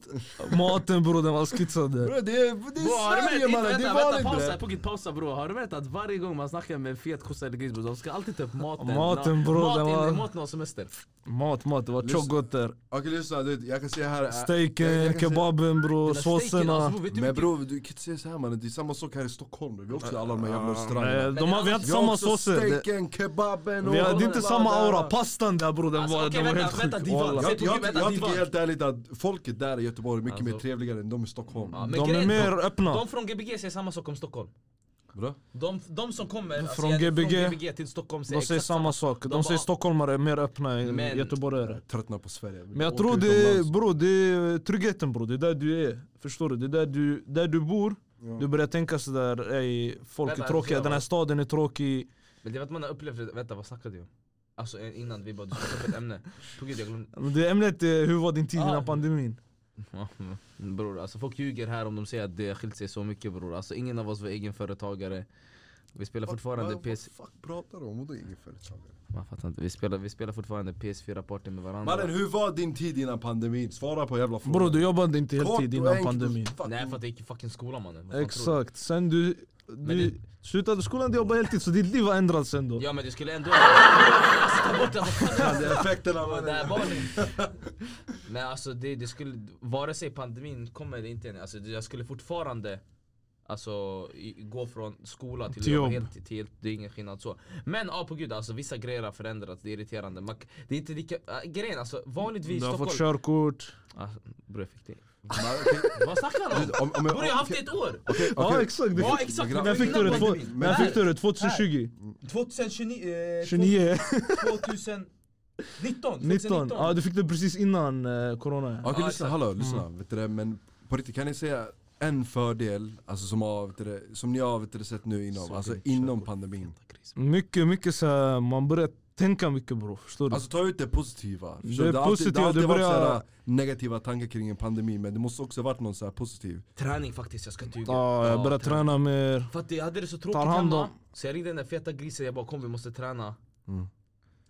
[SPEAKER 3] Maten bror, den var skitsad. där.
[SPEAKER 1] Bror det är, det
[SPEAKER 2] Bror, har du
[SPEAKER 1] är Sverige
[SPEAKER 2] märkt-
[SPEAKER 1] mannen, det
[SPEAKER 2] vänta,
[SPEAKER 1] är
[SPEAKER 2] vänta,
[SPEAKER 1] vanligt
[SPEAKER 2] pausa,
[SPEAKER 1] bre!
[SPEAKER 2] Pukit, pausa bror. Har du märkt att varje gång man snackar med fet kossa eller gris bror, de ska alltid ta upp maten.
[SPEAKER 3] Maten, bror,
[SPEAKER 2] Mat,
[SPEAKER 3] den
[SPEAKER 2] in-
[SPEAKER 3] var-
[SPEAKER 2] mat någon semester.
[SPEAKER 3] Mat, mat. Det var
[SPEAKER 1] Lyssna.
[SPEAKER 3] tjockgott där.
[SPEAKER 1] Okej lyssna, du, jag kan säga här...
[SPEAKER 3] Eh,
[SPEAKER 1] äh, jag- jag
[SPEAKER 3] Steaken,
[SPEAKER 1] kan
[SPEAKER 3] kebaben bror,
[SPEAKER 2] Den där steken, alltså,
[SPEAKER 3] såserna.
[SPEAKER 2] bror, vet du hur
[SPEAKER 1] Men
[SPEAKER 2] mycket-
[SPEAKER 1] bror, du kan inte säga såhär mannen, det är samma sak här i Stockholm bro. Vi har också alla de här jävla
[SPEAKER 3] Nej,
[SPEAKER 1] restaurangerna
[SPEAKER 3] Eh, de har, vi har inte
[SPEAKER 1] Jag har
[SPEAKER 3] samma
[SPEAKER 1] också
[SPEAKER 3] såser. Det-
[SPEAKER 1] steaken, kebaben och...
[SPEAKER 3] Vi hade
[SPEAKER 2] det
[SPEAKER 3] inte
[SPEAKER 2] var
[SPEAKER 3] samma
[SPEAKER 1] där.
[SPEAKER 3] aura. Pastan där bror, den
[SPEAKER 2] Alltså,
[SPEAKER 3] var,
[SPEAKER 2] okej,
[SPEAKER 3] den var
[SPEAKER 2] vänta,
[SPEAKER 3] helt
[SPEAKER 2] vänta,
[SPEAKER 3] sjuk.
[SPEAKER 2] Divan.
[SPEAKER 3] Walla.
[SPEAKER 1] Jag, jag, jag,
[SPEAKER 2] Vänta,
[SPEAKER 1] jag
[SPEAKER 2] Divan.
[SPEAKER 1] tycker helt ärligt att folket där i Göteborg är mycket
[SPEAKER 2] Alltså.
[SPEAKER 1] mer trevligare än de i Stockholm
[SPEAKER 2] Ja, men
[SPEAKER 3] De är
[SPEAKER 2] grejen-
[SPEAKER 3] mer öppna.
[SPEAKER 2] De från Gbg säger samma sak om Stockholm.
[SPEAKER 1] Bra.
[SPEAKER 2] De, de som kommer alltså,
[SPEAKER 3] Från
[SPEAKER 2] jag-
[SPEAKER 3] GBG,
[SPEAKER 2] från GBG till Stockholm
[SPEAKER 3] De säger
[SPEAKER 2] exakt
[SPEAKER 3] samma sak. De
[SPEAKER 2] De
[SPEAKER 3] säger
[SPEAKER 2] bara-
[SPEAKER 3] stockholmare är mer öppna än
[SPEAKER 2] Men-
[SPEAKER 3] göteborgare.
[SPEAKER 1] Tröttna på Sverige.
[SPEAKER 3] Men jag tror det är, bro, det är tryggheten bro. Det är där du är. Förstår du? Det är där du, där du bor. Du börjar tänka sådär, ey folk är
[SPEAKER 2] Vänta,
[SPEAKER 3] tråkiga,
[SPEAKER 2] jag-
[SPEAKER 3] den här staden är tråkig.
[SPEAKER 2] Men det är att man har upplevt det, vänta vad snackade du om? Alltså eh, innan vi bara, du skulle ta upp ett ämne På gud jag glömde
[SPEAKER 3] Men Det ämnet är, hur var din tid innan
[SPEAKER 2] Ah.
[SPEAKER 3] pandemin?
[SPEAKER 2] Ja, Bror alltså folk ljuger här om de säger att det har skilt sig så mycket bror Alltså ingen av oss var egenföretagare Vi spelar fortfarande Mm. PS...
[SPEAKER 1] Vad fuck pratar du om? Vadå ingen företagare?
[SPEAKER 2] Man fattar inte, vi spelar, vi spelar fortfarande PS4-party med varandra
[SPEAKER 1] Mannen hur var din tid innan pandemin? Svara på jävla frågan.
[SPEAKER 3] Bro du jobbade inte
[SPEAKER 1] Kort
[SPEAKER 3] heltid
[SPEAKER 1] och
[SPEAKER 3] innan
[SPEAKER 1] enkelt och
[SPEAKER 3] pandemin.
[SPEAKER 1] fucking-
[SPEAKER 2] Nej för att jag gick i fucking skolan mannen Vad fan tror
[SPEAKER 3] Exakt, sen du, du slutade skolan, du jobbade heltid så ditt liv har ändrats sen då.
[SPEAKER 2] du? Ja men du skulle ändå... alltså ta bort det, vad fan
[SPEAKER 1] Det är effekterna
[SPEAKER 2] Ja,
[SPEAKER 1] mannen.
[SPEAKER 2] där var ni. Men alltså det, det skulle, vare sig pandemin kommer eller inte, alltså det- jag skulle fortfarande Alltså i, gå från skola till,
[SPEAKER 3] Till
[SPEAKER 2] jobb
[SPEAKER 3] jobb.
[SPEAKER 2] helt, till helt, det är ingen skillnad så Men ja på gud alltså vissa grejer har förändrats, det är irriterande Man, k- Det är inte lika, äh, grejen alltså vanligtvis
[SPEAKER 3] Du har fått
[SPEAKER 2] Stockholm
[SPEAKER 3] körkort.
[SPEAKER 2] alltså, Bror jag fick det
[SPEAKER 1] Men okej,
[SPEAKER 2] Vad snackar han om?
[SPEAKER 1] om- om jag-
[SPEAKER 2] Bror jag har haft det ett år!
[SPEAKER 1] okej,
[SPEAKER 3] Ja
[SPEAKER 1] okej.
[SPEAKER 3] exakt, du
[SPEAKER 2] Ja
[SPEAKER 3] fick,
[SPEAKER 2] exakt!
[SPEAKER 1] men
[SPEAKER 2] det
[SPEAKER 3] när
[SPEAKER 2] var
[SPEAKER 3] fick du
[SPEAKER 2] innan
[SPEAKER 3] det? Två-
[SPEAKER 2] pandemin.
[SPEAKER 3] När fick du det? 2020?
[SPEAKER 2] 2029? eh,
[SPEAKER 3] 29?
[SPEAKER 2] 2019?
[SPEAKER 3] 19? Ja du fick det precis innan eh, corona.
[SPEAKER 1] Okej
[SPEAKER 2] Ja,
[SPEAKER 1] lyssna,
[SPEAKER 2] exakt.
[SPEAKER 1] hallå lyssna.
[SPEAKER 3] Mm.
[SPEAKER 1] Vet du det, men på riktigt kan ni säga en fördel alltså som, har, vet du det, som ni har vet du det, sett nu inom,
[SPEAKER 2] Så
[SPEAKER 1] alltså
[SPEAKER 2] grymt,
[SPEAKER 1] inom
[SPEAKER 2] körkort.
[SPEAKER 1] pandemin?
[SPEAKER 3] Mycket, mycket så här, man börjar tänka mycket bro, förstår du?
[SPEAKER 1] Alltså ta ut det positiva. Förstår
[SPEAKER 3] Det
[SPEAKER 1] du?
[SPEAKER 3] är
[SPEAKER 1] har alltid, det
[SPEAKER 3] positiva,
[SPEAKER 1] har alltid
[SPEAKER 3] det
[SPEAKER 1] varit
[SPEAKER 3] börjar-
[SPEAKER 1] såhär, negativa tankar kring en pandemi men det måste också varit någon så här positiv.
[SPEAKER 2] Träning faktiskt, jag ska inte ljuga
[SPEAKER 3] Ja, jag börjar
[SPEAKER 2] träning.
[SPEAKER 3] träna mer.
[SPEAKER 2] För att jag hade det så tråkigt
[SPEAKER 3] hand om-
[SPEAKER 2] hemma Så jag ringde den där feta grisen, jag bara kom vi måste träna
[SPEAKER 1] Mm.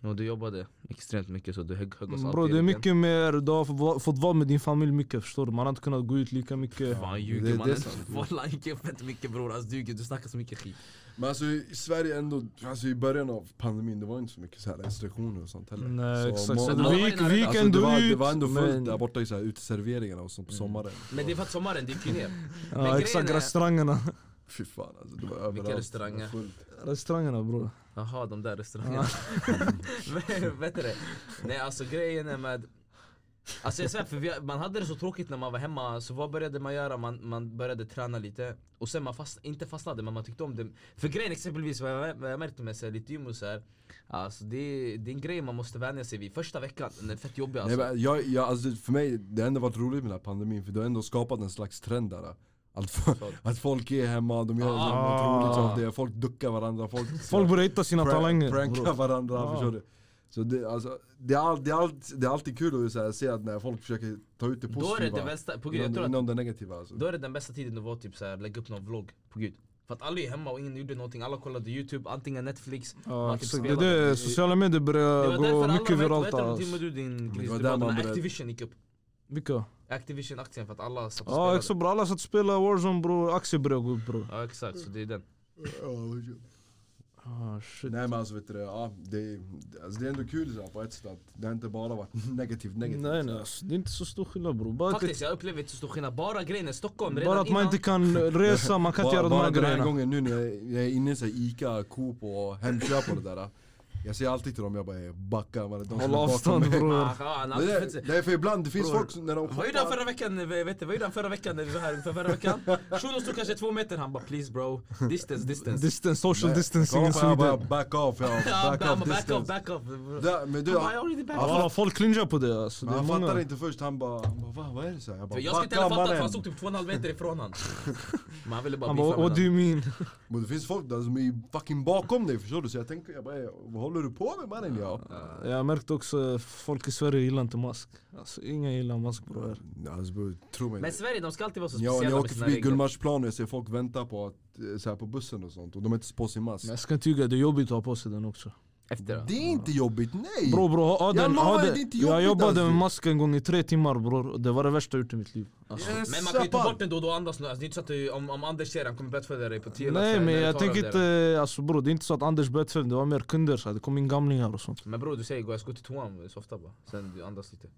[SPEAKER 2] Och du jobbade extremt mycket så du högg, högg oss
[SPEAKER 3] Bro,
[SPEAKER 2] alltid
[SPEAKER 3] det är
[SPEAKER 2] i ryggen.
[SPEAKER 3] mycket mer, du har fått va- fått vara med din familj mycket förstår du. Man har inte kunnat gå ut lika mycket.
[SPEAKER 2] Fan
[SPEAKER 1] Det-
[SPEAKER 2] ljuger
[SPEAKER 1] det är
[SPEAKER 2] mannen,
[SPEAKER 1] sant.
[SPEAKER 2] walla inte fett mycket bror alltså, du, ljuger, du snackar så mycket skit
[SPEAKER 1] Men alltså i Sverige ändå, alltså i början av pandemin det var inte så mycket så här restriktioner och sånt heller.
[SPEAKER 3] Nej
[SPEAKER 1] så
[SPEAKER 3] exakt,
[SPEAKER 1] må-
[SPEAKER 3] så
[SPEAKER 1] må-
[SPEAKER 2] man-
[SPEAKER 3] vi gick, vi gick
[SPEAKER 1] Alltså, det,
[SPEAKER 3] ändå
[SPEAKER 1] var,
[SPEAKER 3] ut.
[SPEAKER 1] det var ändå fullt
[SPEAKER 3] men- Mm.
[SPEAKER 1] där borta i så här, uteserveringarna och sånt på sommaren.
[SPEAKER 2] Men det är för att sommaren, det gick ju ner Men
[SPEAKER 3] Ja
[SPEAKER 2] grejen
[SPEAKER 3] exakt,
[SPEAKER 2] är-
[SPEAKER 3] restaurangerna.
[SPEAKER 1] Fy fan alltså, det var överallt. Det var
[SPEAKER 2] restauranger?
[SPEAKER 1] fullt.
[SPEAKER 3] Restaurangerna bror.
[SPEAKER 2] Jaha, de där restaurangerna Men vet du det? Nej alltså grejen är med Alltså jag säger för vi, man hade det så tråkigt när man var hemma, så vad började man göra? Man, man började träna lite Och sen man fast, inte fastnade men man tyckte om det För grejen exempelvis, vad jag, vad jag märkte med så här, lite gym och så här, Alltså det, det är en grej man måste vänja sig vid Första veckan, den är fett jobbig alltså
[SPEAKER 1] Nej, men jag, jag, alltså, för mig, det har ändå varit roligt med den här pandemin för du har ändå skapat en slags trend där. Att, fo- att folk är hemma, de gör
[SPEAKER 3] Ah.
[SPEAKER 1] något roligt av det, folk duckar varandra, folk,
[SPEAKER 3] Folk börjar hitta sina
[SPEAKER 1] prank-
[SPEAKER 3] talanger.
[SPEAKER 1] prankar
[SPEAKER 3] bror.
[SPEAKER 1] varandra,
[SPEAKER 3] Ah.
[SPEAKER 1] förstår du? Så det, alltså, det, är all, det, är all, det är alltid kul att så här, se att när folk försöker ta ut det
[SPEAKER 2] alltså. Då
[SPEAKER 1] positiva
[SPEAKER 2] är det den bästa, på gud, jag tror
[SPEAKER 1] inom,
[SPEAKER 2] att,
[SPEAKER 1] inom det negativa alltså.
[SPEAKER 2] då är det den bästa tiden att vara typ såhär, lägga upp någon vlogg, på gud För att alla är hemma och ingen gjorde någonting, alla kollade youtube, antingen netflix
[SPEAKER 3] Ja,
[SPEAKER 2] man typ
[SPEAKER 3] exakt. Det är
[SPEAKER 2] spelade.
[SPEAKER 3] det, sociala medier
[SPEAKER 2] Det
[SPEAKER 3] börjar
[SPEAKER 2] var därför
[SPEAKER 3] gå
[SPEAKER 2] alla
[SPEAKER 3] mycket
[SPEAKER 2] mycket vad
[SPEAKER 3] viralt
[SPEAKER 2] heter de, till och
[SPEAKER 3] alltså.
[SPEAKER 2] med du din
[SPEAKER 1] var
[SPEAKER 2] gris,
[SPEAKER 1] där
[SPEAKER 2] du
[SPEAKER 1] man
[SPEAKER 2] man
[SPEAKER 1] började-
[SPEAKER 2] Activision gick upp
[SPEAKER 3] Vilka?
[SPEAKER 2] Activision-aktien för att alla satt och
[SPEAKER 3] Ja
[SPEAKER 2] spelade
[SPEAKER 3] exakt bror, alla satt och spelade Warzone bror, aktier började gå upp bror.
[SPEAKER 2] Ja exakt, så det är den
[SPEAKER 3] Ah, shit.
[SPEAKER 1] Nej men alltså vet du det, ja, det, alltså, det är ändå kul så här, på ett sätt att det har inte bara varit negativt negativt.
[SPEAKER 3] Nej nej,
[SPEAKER 1] så här.
[SPEAKER 3] alltså, det är inte så stor skillnad bror. Bara att det-
[SPEAKER 2] Faktiskt jag upplever inte så stor skillnad, bara grejen är Stockholm redan
[SPEAKER 3] Bara att man
[SPEAKER 2] innan
[SPEAKER 3] inte kan resa, man kan inte göra de här
[SPEAKER 1] den här
[SPEAKER 3] grejerna.
[SPEAKER 1] gången nu när jag- jag är inne i så här Ica, Coop och Hemköp och det där. Jag säger alltid till dem, jag bara "Ey, backa mannen, de
[SPEAKER 3] Håll
[SPEAKER 1] som är bakom
[SPEAKER 3] avstånd
[SPEAKER 1] mig."
[SPEAKER 3] bror. Alltså,
[SPEAKER 2] Ah, ah, han har
[SPEAKER 1] Det
[SPEAKER 2] alltid
[SPEAKER 1] där-
[SPEAKER 2] fett-
[SPEAKER 1] det är för ibland, det finns
[SPEAKER 2] Bror.
[SPEAKER 1] folk som när de
[SPEAKER 2] Vad gjorde han förra veckan, eh, vet du, vad gjorde han förra veckan när vi var här inför förra veckan? Shunon stod kanske två meter, han bara 'please bro, distance, distance'
[SPEAKER 3] Distance, social
[SPEAKER 1] Nej,
[SPEAKER 3] distancing
[SPEAKER 1] kolla på jag
[SPEAKER 3] i
[SPEAKER 1] bara
[SPEAKER 3] Sweden.
[SPEAKER 1] back off, jag
[SPEAKER 2] Ja,
[SPEAKER 1] back
[SPEAKER 2] han
[SPEAKER 1] off
[SPEAKER 2] bara, back off,
[SPEAKER 1] distance.
[SPEAKER 2] back off
[SPEAKER 1] Där, men du,
[SPEAKER 2] Han bara, "I
[SPEAKER 1] han,
[SPEAKER 2] already back
[SPEAKER 1] Ja,
[SPEAKER 2] off'
[SPEAKER 1] fan.
[SPEAKER 3] Alla folk clingar på det alltså. Det är
[SPEAKER 1] han fattade
[SPEAKER 3] många.
[SPEAKER 1] inte först, han bara, han bara va, vad är det så här? Jag
[SPEAKER 2] För
[SPEAKER 1] bara
[SPEAKER 2] jag skulle inte
[SPEAKER 1] backa
[SPEAKER 2] heller fatta för han
[SPEAKER 1] mannen.
[SPEAKER 2] stod typ 2,5 meter ifrån han Men han ville bara
[SPEAKER 3] Han
[SPEAKER 2] beefa
[SPEAKER 3] bara
[SPEAKER 2] med
[SPEAKER 3] what
[SPEAKER 2] den.
[SPEAKER 3] do you mean?
[SPEAKER 1] Men det finns folk där som är fucking bakom dig förstår du? Så jag tänker, jag bara, "Ey, vad håller du på med mannen? Jag,
[SPEAKER 3] Jag märkte också att folk i Sverige gillar inte mask. Alltså ingen gillar mask bror.
[SPEAKER 1] alltså, bror, tro mig.
[SPEAKER 2] Men Sverige, de ska alltid vara så
[SPEAKER 1] När jag, när
[SPEAKER 2] speciella
[SPEAKER 1] jag
[SPEAKER 2] med
[SPEAKER 1] åker
[SPEAKER 2] sina
[SPEAKER 1] förbi
[SPEAKER 2] regler
[SPEAKER 1] Gullmarsplan och jag ser folk vänta på att, eh, så här, på bussen och sånt och de har inte ens på sig mask.
[SPEAKER 3] Men jag ska inte ljuga, det är jobbigt att ha på sig den också.
[SPEAKER 2] Efter då?
[SPEAKER 1] Det är inte jobbigt, nej!
[SPEAKER 3] Bror bror, ha
[SPEAKER 1] Jag
[SPEAKER 3] den.
[SPEAKER 1] lovar,
[SPEAKER 3] Ha
[SPEAKER 1] det är
[SPEAKER 3] den.
[SPEAKER 1] inte
[SPEAKER 3] Jag
[SPEAKER 1] jobbigt,
[SPEAKER 3] jobbade
[SPEAKER 1] alltså.
[SPEAKER 3] med mask en gång i tre timmar bror. Det var det värsta jag gjort i mitt liv. Alltså.
[SPEAKER 1] Jag är
[SPEAKER 2] Men man kan ju ta
[SPEAKER 1] zappad.
[SPEAKER 2] bort den då och då och andas nu, alltså, det är inte så att du, om, om Anders ser han kommer bötfälla dig på 10 lax
[SPEAKER 3] Nej
[SPEAKER 2] eller
[SPEAKER 3] men
[SPEAKER 2] när du
[SPEAKER 3] jag
[SPEAKER 2] tar av
[SPEAKER 3] tänker
[SPEAKER 2] dig den.
[SPEAKER 3] inte, alltså bror det är inte så att Anders Bedfeld, det var mer kunder så här, det kom in gamlingar och sånt.
[SPEAKER 2] Men bror du säger gå, jag ska gå till toan, softa bara, sen du andas lite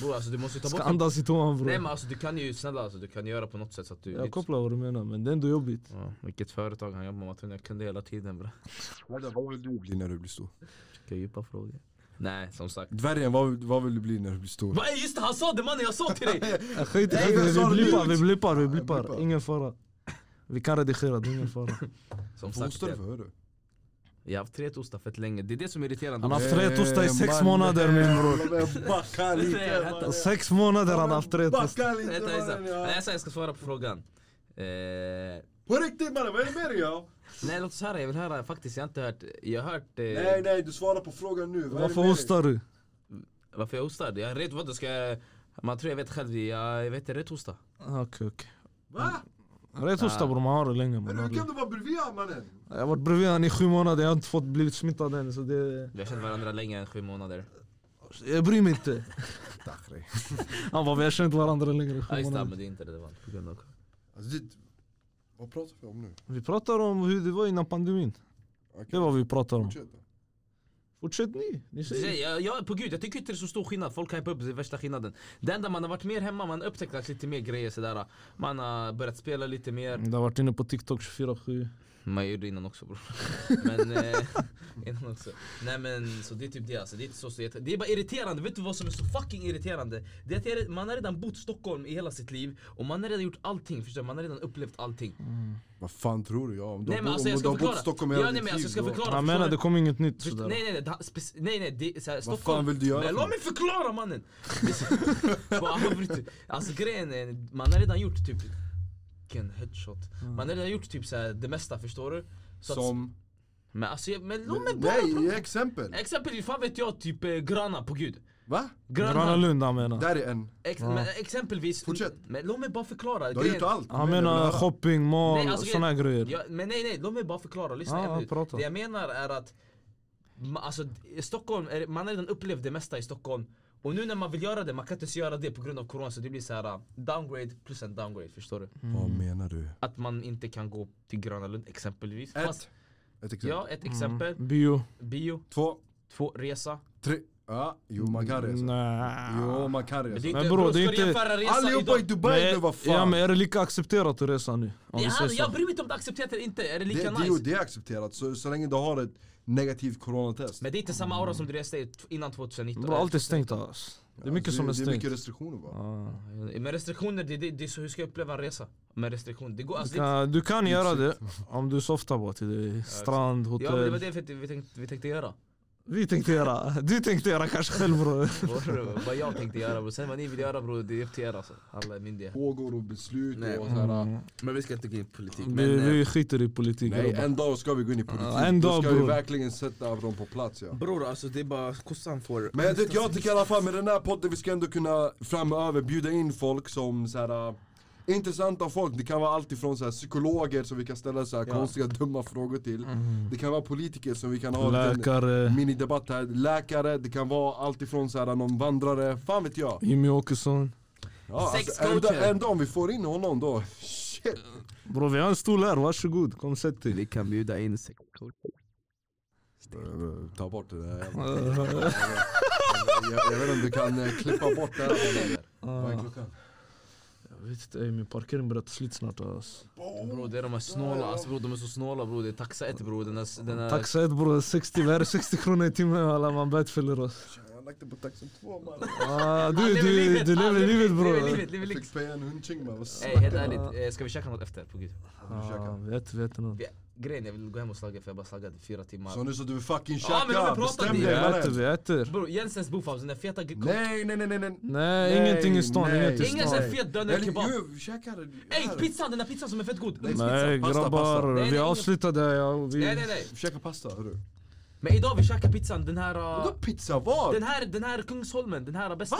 [SPEAKER 2] Bror alltså du måste ju ta
[SPEAKER 3] Ska
[SPEAKER 2] bort den
[SPEAKER 3] andas i toan bror.
[SPEAKER 2] Nej men alltså du kan ju, snälla alltså, du kan göra på något sätt så att du
[SPEAKER 3] Jag kopplar vad du menar men det är ändå jobbigt.
[SPEAKER 2] ja, Vilket företag han jobbar med, att jag kunde hela tiden bra
[SPEAKER 1] Vänta, Vad vill du bli när du blir stor?
[SPEAKER 2] Vilka djupa frågor Nej som sagt
[SPEAKER 1] Dvärgen, vad, vad vill du bli när du blir stor?
[SPEAKER 2] Va, ey, just det, han sa det mannen jag sa till dig!
[SPEAKER 3] Jag skiter
[SPEAKER 1] Nej,
[SPEAKER 3] i det.
[SPEAKER 1] jag sa
[SPEAKER 3] vi
[SPEAKER 1] det
[SPEAKER 3] blippar,
[SPEAKER 1] ljud.
[SPEAKER 3] vi blippar, vi
[SPEAKER 1] blippar.
[SPEAKER 3] blippar. Ingen fara. Vi kan redigera, det är ingen fara.
[SPEAKER 2] Som sagt,
[SPEAKER 1] Hostar du
[SPEAKER 2] jag,
[SPEAKER 1] för hörru?
[SPEAKER 2] jag har haft tretostar fett länge. Det är det som är irriterande.
[SPEAKER 3] Han har haft
[SPEAKER 1] Eh,
[SPEAKER 3] tretostar i sex
[SPEAKER 1] man-
[SPEAKER 3] månader min bror.
[SPEAKER 1] Jag backar
[SPEAKER 2] Nej,
[SPEAKER 1] lite.
[SPEAKER 2] vänta.
[SPEAKER 1] mannen.
[SPEAKER 3] Sex månader han har haft tretostar.
[SPEAKER 1] Backar lite.
[SPEAKER 2] Vänta, vänta.
[SPEAKER 1] mannen, ja.
[SPEAKER 2] Nej, Jag sa jag ska svara på frågan. Eh,
[SPEAKER 1] På riktigt mannen, vad är det med dig ja?
[SPEAKER 2] nej låt oss höra, jag vill höra faktiskt. Jag har inte hört. Jag har hört eh,
[SPEAKER 1] Nej nej, du svarar på frågan nu. Vad är det
[SPEAKER 3] Varför
[SPEAKER 1] med dig?
[SPEAKER 3] hostar du?
[SPEAKER 2] varför jag hostade. Jag är rädd, vadå ska jag... Man tror jag vet själv, jag, jag vet inte rätt hosta.
[SPEAKER 3] Ah, Okej okej.
[SPEAKER 1] Va?
[SPEAKER 2] Ah.
[SPEAKER 3] Rätostar bror, man har det länge. man
[SPEAKER 1] Men
[SPEAKER 3] har
[SPEAKER 1] hur
[SPEAKER 3] det.
[SPEAKER 1] kan du vara bredvid honom, mannen?
[SPEAKER 3] Jag har varit bredvid han i sju månader, jag har inte fått blivit smittad än så det...
[SPEAKER 2] Vi har känt varandra längre än sju månader.
[SPEAKER 3] Jag bryr mig inte. Han bara vi har känt varandra längre än
[SPEAKER 2] Ja
[SPEAKER 3] sju
[SPEAKER 2] just det,
[SPEAKER 3] månader.
[SPEAKER 2] men det är inte relevant på grund av
[SPEAKER 1] Alltså, det, vad pratar vi om nu?
[SPEAKER 3] Vi pratar om hur det var innan pandemin.
[SPEAKER 1] Okej,
[SPEAKER 3] Det var vi pratar om.
[SPEAKER 1] fortsätt då.
[SPEAKER 3] Fortsätt ni, ni säger.
[SPEAKER 2] Säg, jag, jag, på gud, jag tycker inte det är så stor skillnad. Folk hypar upp det är värsta skillnaden. Det enda man har varit mer hemma, man har upptäckt lite mer grejer sådär. Man har börjat spela lite mer.
[SPEAKER 3] Du har varit inne på TikTok 24-7.
[SPEAKER 2] Man gjorde det innan också bror. Men, eh, innan också. Nej men så det är typ det alltså. Det är inte så, så jätte- Det är bara irriterande. Vet du vad som är så fucking irriterande? Det är att jag, re- man har redan bott i Stockholm i hela sitt liv och man har redan gjort allting. Förstår du? Man har redan upplevt allting.
[SPEAKER 1] Vad fan tror du? Ja, om du
[SPEAKER 2] Nej,
[SPEAKER 1] har
[SPEAKER 2] men
[SPEAKER 1] bo-
[SPEAKER 2] alltså, jag
[SPEAKER 1] om du
[SPEAKER 2] ska
[SPEAKER 1] har bott
[SPEAKER 2] förklara.
[SPEAKER 1] i Stockholm
[SPEAKER 2] Ja,
[SPEAKER 1] hela
[SPEAKER 2] nej,
[SPEAKER 1] ditt
[SPEAKER 2] men alltså, jag ska
[SPEAKER 1] liv, då-
[SPEAKER 2] förklara.
[SPEAKER 3] Han menar det kom inget nytt
[SPEAKER 2] Först-
[SPEAKER 3] sådär.
[SPEAKER 2] Nej nej nej, det, här spec- nej, nej det, är så här,
[SPEAKER 1] Vad
[SPEAKER 2] Stockholm
[SPEAKER 1] fan vill du göra?
[SPEAKER 2] Men
[SPEAKER 1] för
[SPEAKER 2] låt mig förklara mannen! Bara avbryt. alltså grejen är, man har redan gjort typ Vilken headshot Man har redan gjort typ så här, det mesta förstår du? Så Att,
[SPEAKER 1] Som...
[SPEAKER 2] men alltså jag, men låt mig bara
[SPEAKER 1] Nej,
[SPEAKER 2] prata
[SPEAKER 1] ge exempel!
[SPEAKER 2] Exempelvis, fan vet jag typ eh, Grana på gud
[SPEAKER 1] Va?
[SPEAKER 2] Grana,
[SPEAKER 3] Gröna Lund han menar.
[SPEAKER 1] Där är en.
[SPEAKER 2] Ex,
[SPEAKER 3] Ja.
[SPEAKER 2] men, exempelvis
[SPEAKER 1] Fortsätt.
[SPEAKER 2] Men låt mig bara förklara
[SPEAKER 1] Du har gjort allt.
[SPEAKER 3] Han
[SPEAKER 1] Nej, jag
[SPEAKER 3] menar
[SPEAKER 1] vill höra.
[SPEAKER 3] shopping,
[SPEAKER 2] Nej,
[SPEAKER 3] mall,
[SPEAKER 2] alltså,
[SPEAKER 3] såna här grejer.
[SPEAKER 2] Ja, men nej nej, låt mig bara förklara, lyssna
[SPEAKER 3] Ja,
[SPEAKER 2] jag
[SPEAKER 3] ja,
[SPEAKER 2] nu.
[SPEAKER 3] prata.
[SPEAKER 2] Det jag menar är att ma- alltså, i Stockholm, är, man har redan upplevt det mesta i Stockholm Och nu när man vill göra det, man kan inte ens göra det på grund av corona så det blir så här äh, downgrade plus en downgrade, förstår du?
[SPEAKER 1] Vad menar du?
[SPEAKER 2] Att man inte kan gå till Gröna Lund exempelvis
[SPEAKER 1] Ett.
[SPEAKER 2] Fast-
[SPEAKER 1] Ett exempel.
[SPEAKER 2] Ja,
[SPEAKER 3] Mm.
[SPEAKER 2] ett exempel
[SPEAKER 3] Bio.
[SPEAKER 2] Bio,
[SPEAKER 1] Två,
[SPEAKER 2] två, resa
[SPEAKER 1] tre. Ja, jo man kan resa. alltså. Jo
[SPEAKER 3] Nej.
[SPEAKER 1] man kan resa.
[SPEAKER 3] Men bror, det är
[SPEAKER 2] ska du
[SPEAKER 3] inte-
[SPEAKER 2] jämföra resa
[SPEAKER 1] Allihopa i
[SPEAKER 2] idag?
[SPEAKER 1] Dubai nu vad fan.
[SPEAKER 3] ja men är det lika accepterat att resa nu? Om vi
[SPEAKER 2] Ja,
[SPEAKER 3] säger så.
[SPEAKER 2] jag bryr mig inte om det är accepterat eller inte, är det
[SPEAKER 1] det,
[SPEAKER 2] lika
[SPEAKER 1] det,
[SPEAKER 2] nice?
[SPEAKER 1] det är accepterat så, så länge du har ett negativt coronatest.
[SPEAKER 2] Men det är inte samma aura som du reste i t- innan 2019
[SPEAKER 3] Bro, allt är stängt ass. Det är mycket
[SPEAKER 1] Alltså,
[SPEAKER 3] som
[SPEAKER 1] Det
[SPEAKER 3] är
[SPEAKER 1] är
[SPEAKER 3] stängt.
[SPEAKER 1] mycket restriktioner bara.
[SPEAKER 3] Ah.
[SPEAKER 2] Men restriktioner, det, det, det är så hur ska jag uppleva en resa? Med restriktioner, det går
[SPEAKER 3] Du
[SPEAKER 2] alltså det,
[SPEAKER 3] kan, du kan göra det om du softar bara till det. Strand,
[SPEAKER 2] Ja men det
[SPEAKER 3] hotell.
[SPEAKER 2] var det vi vi tänkte, vi tänkte göra
[SPEAKER 3] Vi tänkte göra, du tänkte göra kanske själv bror.
[SPEAKER 2] Bror, Vad jag tänkte göra bror, sen vad ni vill göra bror det är upp till er alltså Alla är myndiga
[SPEAKER 1] Pågår och beslut
[SPEAKER 4] Nej.
[SPEAKER 3] Mm.
[SPEAKER 1] och sådär.
[SPEAKER 4] Men vi ska inte gå in på politik. Men,
[SPEAKER 3] Vi,
[SPEAKER 4] eh,
[SPEAKER 3] vi skiter i politik
[SPEAKER 1] Nej
[SPEAKER 3] grabbar.
[SPEAKER 1] en dag ska vi gå in i politik.
[SPEAKER 3] Ja, en dag,
[SPEAKER 1] Då ska vi
[SPEAKER 3] bror.
[SPEAKER 1] verkligen sätta dem på plats ja.
[SPEAKER 4] bror alltså det är bara kossan får...
[SPEAKER 1] Men jag, tycker- jag tycker i alla fall med den här podden vi ska ändå kunna framöver bjuda in folk som så här. äh, Intressanta folk, det kan vara allt ifrån så här, psykologer som vi kan ställa så här,
[SPEAKER 4] Ja.
[SPEAKER 1] konstiga dumma frågor till Det kan vara politiker som vi kan ha en liten
[SPEAKER 3] Mm. Läkare,
[SPEAKER 1] minidebatt här Läkare, det kan vara allt ifrån så här, äh, någon vandrare, fan vet jag
[SPEAKER 3] Jimmy Åkesson.
[SPEAKER 1] ja, alltså,
[SPEAKER 4] Sexcoacher.
[SPEAKER 1] ändå, ändå om vi får in honom då, shit
[SPEAKER 3] Bror vi har en stol här, varsågod kom sätt dig.
[SPEAKER 4] Vi kan bjuda in sex
[SPEAKER 1] Ta bort det där jävla-
[SPEAKER 3] Eh,
[SPEAKER 1] jag, jag vet inte om du kan eh, klippa bort det här Vad är
[SPEAKER 3] ah.
[SPEAKER 1] klockan?
[SPEAKER 3] Jag vet inte, ey, min parkering börjar ta slut snart ass.
[SPEAKER 2] Bror det är de här snåla, alltså bror de är så snåla bror det är taxa ett bror den här, den här
[SPEAKER 3] Taxa ett bror, 60, vad är det, 60 kronor i timmen alla man bötfäller oss.
[SPEAKER 1] Jag lagt på taxen två man
[SPEAKER 3] Ah,
[SPEAKER 2] Han
[SPEAKER 3] du, du,
[SPEAKER 2] livet,
[SPEAKER 3] du
[SPEAKER 2] han
[SPEAKER 3] lever livet
[SPEAKER 2] lever
[SPEAKER 3] bror.
[SPEAKER 2] livet, lever
[SPEAKER 1] Jag
[SPEAKER 2] livet
[SPEAKER 1] fick pay en hundking man, vad
[SPEAKER 2] liksom- Ey helt
[SPEAKER 1] snackar du
[SPEAKER 2] ärligt, eh, ska vi käka något efter? På gud
[SPEAKER 1] om?
[SPEAKER 3] Ah, vet, vet något.
[SPEAKER 2] Vi- Grejen jag vill gå hem och slagga för jag har bara slaggat i fyra timmar
[SPEAKER 1] Så nu så du vill fucking
[SPEAKER 2] Ja, men
[SPEAKER 1] käka,
[SPEAKER 2] vi pratar
[SPEAKER 1] bestäm
[SPEAKER 2] om
[SPEAKER 3] Vi
[SPEAKER 1] dig
[SPEAKER 3] äter,
[SPEAKER 1] mannen!
[SPEAKER 3] vi äter.
[SPEAKER 2] Bror Jensens Boofhouse, den där feta gre-
[SPEAKER 1] Nej nej nej nej nej!
[SPEAKER 3] Nej,
[SPEAKER 1] Nej,
[SPEAKER 3] ingenting i stan,
[SPEAKER 1] nej.
[SPEAKER 3] inget i
[SPEAKER 2] Ingen
[SPEAKER 3] stan.
[SPEAKER 2] sån fet döner
[SPEAKER 1] Eller
[SPEAKER 2] kebab
[SPEAKER 1] jo, käka det
[SPEAKER 2] Ey
[SPEAKER 1] här.
[SPEAKER 2] pizzan, den där pizzan som är fett god!
[SPEAKER 1] Nej,
[SPEAKER 3] Nej
[SPEAKER 1] pizza, pasta, pasta.
[SPEAKER 3] grabbar,
[SPEAKER 2] Nej,
[SPEAKER 3] vi
[SPEAKER 2] nej,
[SPEAKER 3] avslutar det. Ja, vi...
[SPEAKER 2] Nej nej nej,
[SPEAKER 1] Käka pasta hörru
[SPEAKER 2] men idag vi käkar pizzan den här uh,
[SPEAKER 1] Vadå pizza, vad?
[SPEAKER 2] Den här, den här Kungsholmen, den här bästa.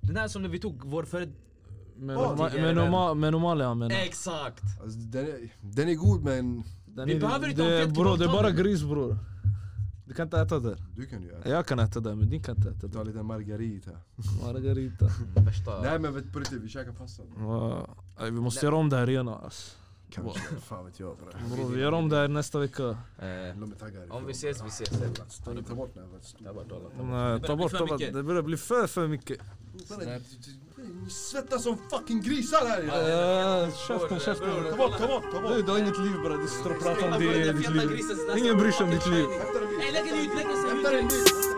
[SPEAKER 2] Den här som vi tog vår för...
[SPEAKER 3] Men,
[SPEAKER 1] Vad?
[SPEAKER 3] norma,
[SPEAKER 2] Tidigare
[SPEAKER 3] men, norma, men normal är han menar.
[SPEAKER 2] Exakt!
[SPEAKER 1] Alltså, den, är, den är god men
[SPEAKER 3] Den
[SPEAKER 2] vi
[SPEAKER 3] är-
[SPEAKER 2] behöver inte ha
[SPEAKER 3] det,
[SPEAKER 2] fett
[SPEAKER 3] Bror det är
[SPEAKER 2] kebab,
[SPEAKER 3] bara
[SPEAKER 2] ta den.
[SPEAKER 3] gris bror. Du kan inte äta där.
[SPEAKER 1] du kan ju äta
[SPEAKER 3] Jag kan äta där men din kan inte äta
[SPEAKER 1] Ta
[SPEAKER 3] där.
[SPEAKER 1] lite margarita
[SPEAKER 3] Margarita.
[SPEAKER 2] Värsta...
[SPEAKER 1] Nej men vet på riktigt, vi käkar pasta
[SPEAKER 3] Ah, ey, vi måste göra om det här igen ass.
[SPEAKER 1] Kanske, fan vet jag bre
[SPEAKER 3] Bror vi gör om det här nästa vecka.
[SPEAKER 2] Eh,
[SPEAKER 1] Låt mig tagga härifrån.
[SPEAKER 2] om vi ses, vi ses. Ebba.
[SPEAKER 1] Ta ta bort den här jävla
[SPEAKER 2] Ta
[SPEAKER 1] stolen.
[SPEAKER 2] bort alla.
[SPEAKER 3] Nej,
[SPEAKER 2] bli
[SPEAKER 3] ta bort
[SPEAKER 2] för
[SPEAKER 3] alla,
[SPEAKER 2] mycket.
[SPEAKER 3] det börjar bli för för mycket.
[SPEAKER 1] Mannen, du- du- du- Ni svettas som fucking grisar här inne.
[SPEAKER 3] Eh, Käften,
[SPEAKER 2] Bror,
[SPEAKER 3] käften.
[SPEAKER 1] Ta bort, ta bort, ta
[SPEAKER 3] Du,
[SPEAKER 1] bort!
[SPEAKER 3] du har inget liv bror, du sitter och pratar om
[SPEAKER 2] Kolla på
[SPEAKER 3] det,
[SPEAKER 2] den där
[SPEAKER 3] ditt
[SPEAKER 2] feta
[SPEAKER 3] liv.
[SPEAKER 2] grisen, sån här
[SPEAKER 3] Ingen bryr sig om ditt liv.
[SPEAKER 2] Ey lägg den ut, lägg den
[SPEAKER 1] Hämta den
[SPEAKER 2] ut!
[SPEAKER 1] dit!